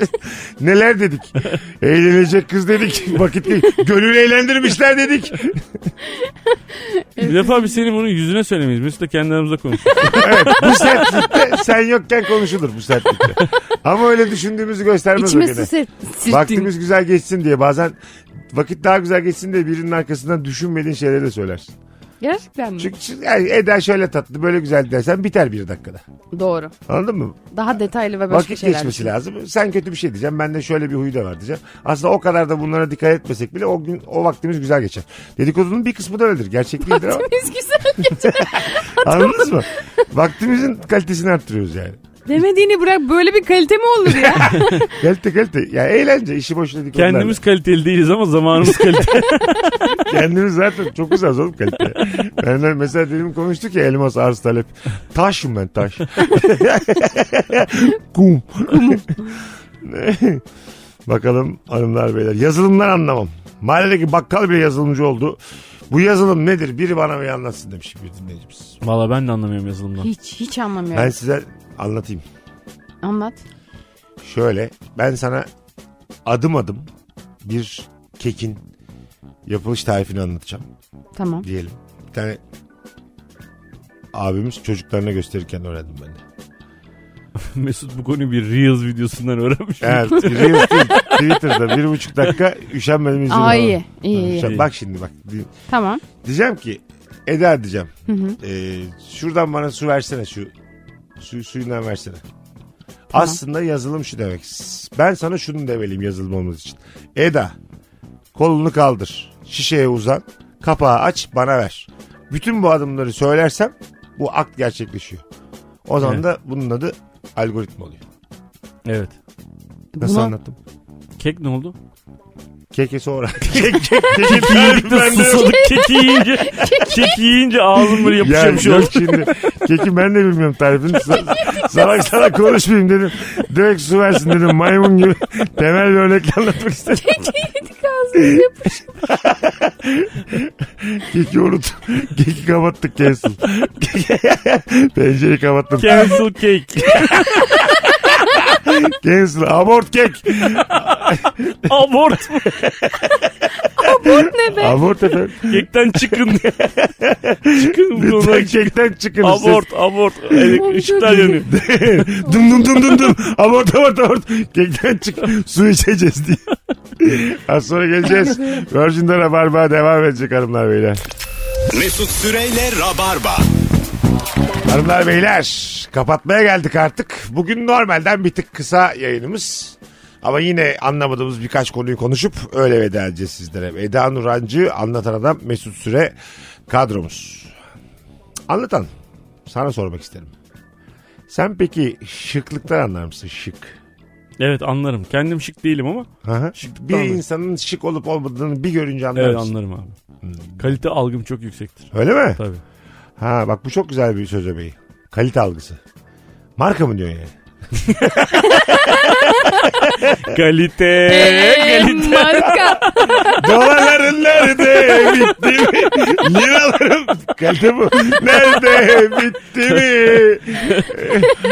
S5: Neler dedik. Eğlenecek kız dedik. Vakit ge- gönül eğlendirmişler dedik.
S6: Bir defa biz senin bunu yüzüne söylemeyiz. Mesut da kendi aramızda konuşuyor.
S5: Evet, bu sertlikte sen yokken konuşulur bu sertlikte. Ama öyle düşündüğümüzü göstermez o
S7: İçime
S5: gene.
S7: su sür- sürttün.
S5: Vaktimiz güzel geçsin diye bazen vakit daha güzel geçsin diye birinin arkasından düşünmediğin şeyleri de söylersin.
S7: Gerçekten mi?
S5: Çünkü yani Eda şöyle tatlı böyle güzel dersen biter bir dakikada.
S7: Doğru.
S5: Anladın mı?
S7: Daha detaylı ve başka
S5: Vakit
S7: şeyler.
S5: geçmesi lazım. Sen kötü bir şey diyeceğim. Ben de şöyle bir huyu da var diyeceğim. Aslında o kadar da bunlara dikkat etmesek bile o gün o vaktimiz güzel geçer. Dedikodunun bir kısmı da öyledir. Gerçek değildir ama
S7: Vaktimiz güzel.
S5: anladınız mı? Vaktimizin kalitesini arttırıyoruz yani.
S7: Demediğini bırak böyle bir kalite mi olur ya?
S5: Kalite kalite. Ya eğlence işi boşuna dedikodularla.
S6: Kendimiz kaliteli değiliz ama zamanımız kaliteli.
S5: Kendimiz zaten çok uzağız oğlum kalite. Ben de mesela dedim konuştuk ya elmas arz talep. Taşım ben taş. Kum. Bakalım hanımlar beyler. Yazılımlar anlamam. Mahalledeki bakkal bile yazılımcı oldu. Bu yazılım nedir? Biri bana bir anlatsın demiş bir dinleyicimiz.
S6: Valla ben de anlamıyorum yazılımdan.
S7: hiç hiç anlamıyorum.
S5: Ben size anlatayım.
S7: Anlat.
S5: Şöyle ben sana adım adım bir kekin Yapılış tarifini anlatacağım
S7: Tamam.
S5: diyelim. Bir tane abimiz çocuklarına gösterirken öğrendim ben de.
S6: Mesut bu konuyu bir Reels videosundan öğrenmiş.
S5: Evet. Reels değil, Twitter'da bir buçuk dakika üşenmedim izin
S7: Aa
S5: alalım.
S7: iyi. iyi, iyi.
S5: Üşen- Bak şimdi bak. Di-
S7: Tamam.
S5: Diyeceğim ki Eda diyeceğim. Ee, şuradan bana su versene şu. Su, suyundan versene. Aslında yazılım şu demek. S- Ben sana şunu demeliyim yazılım olması için. Eda kolunu kaldır. Şişeye uzan. Kapağı aç bana ver. Bütün bu adımları söylersem bu akt gerçekleşiyor. O zaman
S6: Evet.
S5: da bunun adı algoritma oluyor.
S6: evet.
S5: Nasıl
S7: Buna-
S5: anlattım?
S6: Kek ne oldu?
S5: Keke sonra. Keke, keke, tarifi bende yok.
S6: Susadık keki yiyince. keki yiyince ağzım böyle yapışıyormuş
S5: Ya
S6: oldu.
S5: yok şimdi. Keki ben de bilmiyorum tarifini. Sa- Salak salak konuşmayayım dedim. Direkt su versin dedim. Maymun gibi. Temel bir örnekle anlatmak istedim. Keki unut. Keki kapattık cancel. Pencereyi kapattım.
S6: Cancel cake.
S5: Cancel. Abort kek.
S6: Abort.
S5: Abort efendim.
S6: Kekten çıkın. çıkın bu konudan.
S5: Lütfen kekten çıkın.
S6: Abort abort. Evet, ışıklar yanıyor.
S5: dum dum dum dum dum. Abort abort abort. Kekten çık. Su içeceğiz diye. Az sonra geleceğiz. Virgin'de Rabarba devam edecek hanımlar beyler.
S4: Mesut Süreyle Rabarba.
S5: Hanımlar beyler kapatmaya geldik artık. Bugün normalden bir tık kısa yayınımız. Ama yine anlamadığımız birkaç konuyu konuşup öyle veda edeceğiz sizlere. Eda Nurancı, Anlatan Adam, Mesut Süre kadromuz. Anlatan, sana sormak isterim. Sen peki şıklıktan anlar mısın şık?
S6: Evet anlarım. Kendim şık değilim ama
S5: Hı hı.
S6: Şıklıktan
S5: Bir
S6: mı?
S5: insanın şık olup olmadığını bir görünce anlar
S6: evet Hmm.
S5: mısın?
S6: anlarım abi. Kalite algım çok yüksektir.
S5: Öyle mi?
S6: Tabii.
S5: Ha bak bu çok güzel bir söz öbeği. Kalite algısı. Marka mı diyor yani? Ee,
S6: Kalite.
S7: Ee, marka.
S5: Dolarların nerede bitti mi? Liralarım kalite bu. Nerede bitti mi?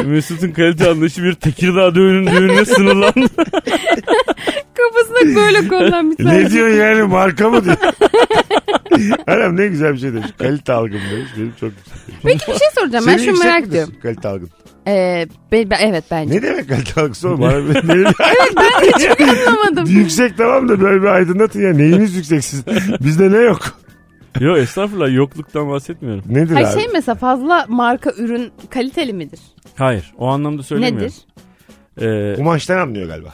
S6: Mesut'un kalite anlayışı bir Tekirdağ düğünün düğününe sınırlandı.
S7: Kafasına böyle konulan bir tane.
S5: Ne diyor yani marka mı diyor? Adam ne güzel bir şey demiş. Kalite algım demiş. Benim çok güzel.
S7: Peki bir şey soracağım. ben
S5: Senin
S7: şunu
S5: yüksek
S7: merak
S5: midir
S7: ediyorum.
S5: Kalite algın.
S7: Ee, be- be- evet bence.
S5: Ne demek kalite algısı oğlum? Bana bir- ne-
S7: Anlamadım.
S5: yüksek tamam da böyle bir aydınlatın ya. Neyiniz yüksek siz? Bizde ne yok?
S6: Yok estağfurullah yokluktan bahsetmiyorum.
S5: Nedir
S7: Hayır
S5: abi?
S7: şey mesela fazla marka ürün kaliteli midir?
S6: Hayır o anlamda söylemiyorum.
S7: Nedir?
S6: Ee,
S5: Kumaştan anlıyor galiba.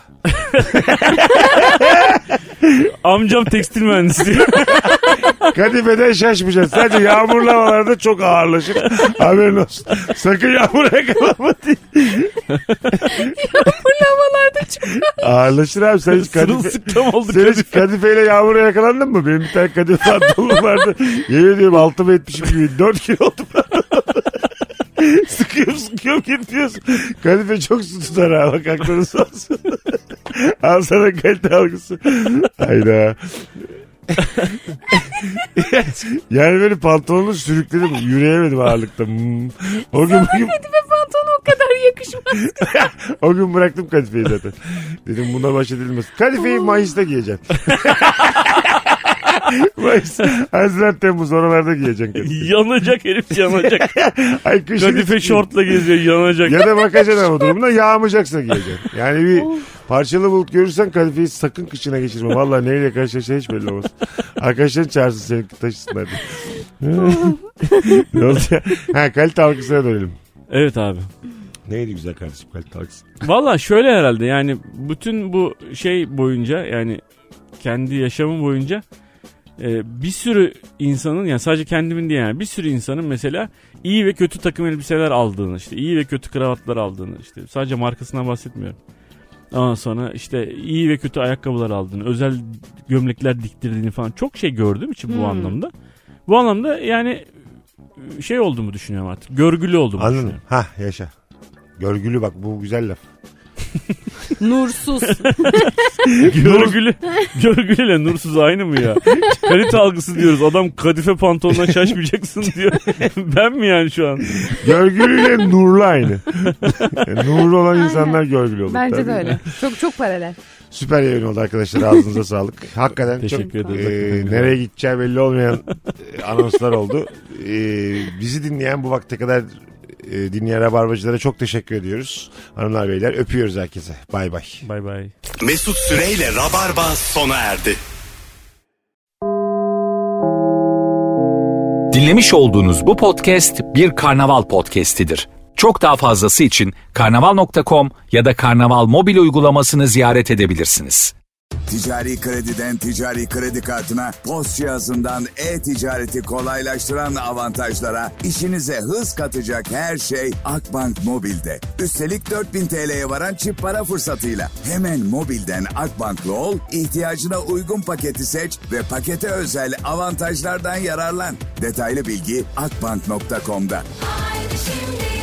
S6: amcam tekstil mühendisi.
S5: Kadifeden şaşmayacaksın. Sadece yağmurlu havalarda çok ağırlaşır. Haberin olsun. Sakın yağmura yakalama diye.
S7: Bu lavalarda çok
S5: Ağırlaşır abi. Sen hiç kadife...
S6: Sırılsıklam olduk.
S5: Sen hiç kadifeyle yağmura yakalandın mı? Benim bir tane kadife pantolonum vardı. Yemin ediyorum altıma etmişim gibi. Dört kilo oldu pantolon. sıkıyorum sıkıyorum gitmiyorsun. Kadife çok su tutar ha. Bak aklını sağ olsun. Al sana kalite algısı. Hayda. yani böyle pantolonu sürükledim. Yürüyemedim ağırlıkta. Hmm. O gün bugün
S7: ve pantolon o kadar yakışmaz.
S5: o gün bıraktım kadifeyi zaten. Dedim buna baş edilmez. Kadifeyi Mayıs'ta giyeceksin. Mayıs, Haziran, Temmuz oralarda giyeceksin kadifeyi.
S6: yanacak herif yanacak.
S5: Ay kışın
S6: Kadife şortla geziyor yanacak.
S5: Ya da bakacaksın ama durumuna yağmayacaksa giyeceksin. Yani bir parçalı bulut görürsen kadifeyi sakın kışına geçirme. Valla neyle karşılaşacağı hiç belli olmaz. Arkadaşların çağırsın seni taşısınlar diye. ne oldu ya? Ha kalite algısına dönelim.
S6: evet abi.
S5: Neydi güzel kardeşim kalite algısı?
S6: Valla şöyle herhalde yani bütün bu şey boyunca yani kendi yaşamım boyunca e, bir sürü insanın yani sadece kendimin değil yani bir sürü insanın mesela iyi ve kötü takım elbiseler aldığını işte iyi ve kötü kravatlar aldığını işte sadece markasından bahsetmiyorum. Ondan sonra işte iyi ve kötü ayakkabılar aldığını, özel gömlekler diktirdiğini falan çok şey gördüğüm için bu
S7: Hmm.
S6: anlamda. Bu anlamda yani e, şey olduğumu düşünüyorum artık. Görgülü olduğumu
S5: Anladım.
S6: düşünüyorum.
S5: Ha yaşa. Görgülü bak bu güzel laf.
S7: Nursuz.
S6: Görgülü, görgülüyle nursuz aynı mı ya? Kalite algısı diyoruz. Adam kadife pantolonuna şaşmayacaksın diyor. ben mi yani şu an?
S5: Görgülüyle nurlu aynı. Yani nurlu olan insanlar görgülü olur.
S7: Bence
S5: tabii.
S7: de öyle. Çok çok paralel.
S5: Süper yayın oldu arkadaşlar. Ağzınıza sağlık. Hakikaten çok
S6: Teşekkür ederiz.
S5: e, nereye gideceği belli olmayan e, anonslar oldu. E, bizi dinleyen bu vakte kadar e, dinleyen rabarbacılara çok teşekkür ediyoruz. Hanımlar beyler öpüyoruz herkese. Bay bay.
S6: Bay bay.
S4: Mesut Süreyle Rabarba sona erdi.
S3: Dinlemiş olduğunuz bu podcast bir karnaval podcastidir. Çok daha fazlası için karnaval.com ya da karnaval mobil uygulamasını ziyaret edebilirsiniz.
S8: Ticari krediden ticari kredi kartına, post cihazından e-ticareti kolaylaştıran avantajlara, işinize hız katacak her şey Akbank Mobil'de. Üstelik 4000 TL'ye varan çift para fırsatıyla. Hemen mobilden Akbank'lı ol, ihtiyacına uygun paketi seç ve pakete özel avantajlardan yararlan. Detaylı bilgi akbank.com'da.
S9: Haydi şimdi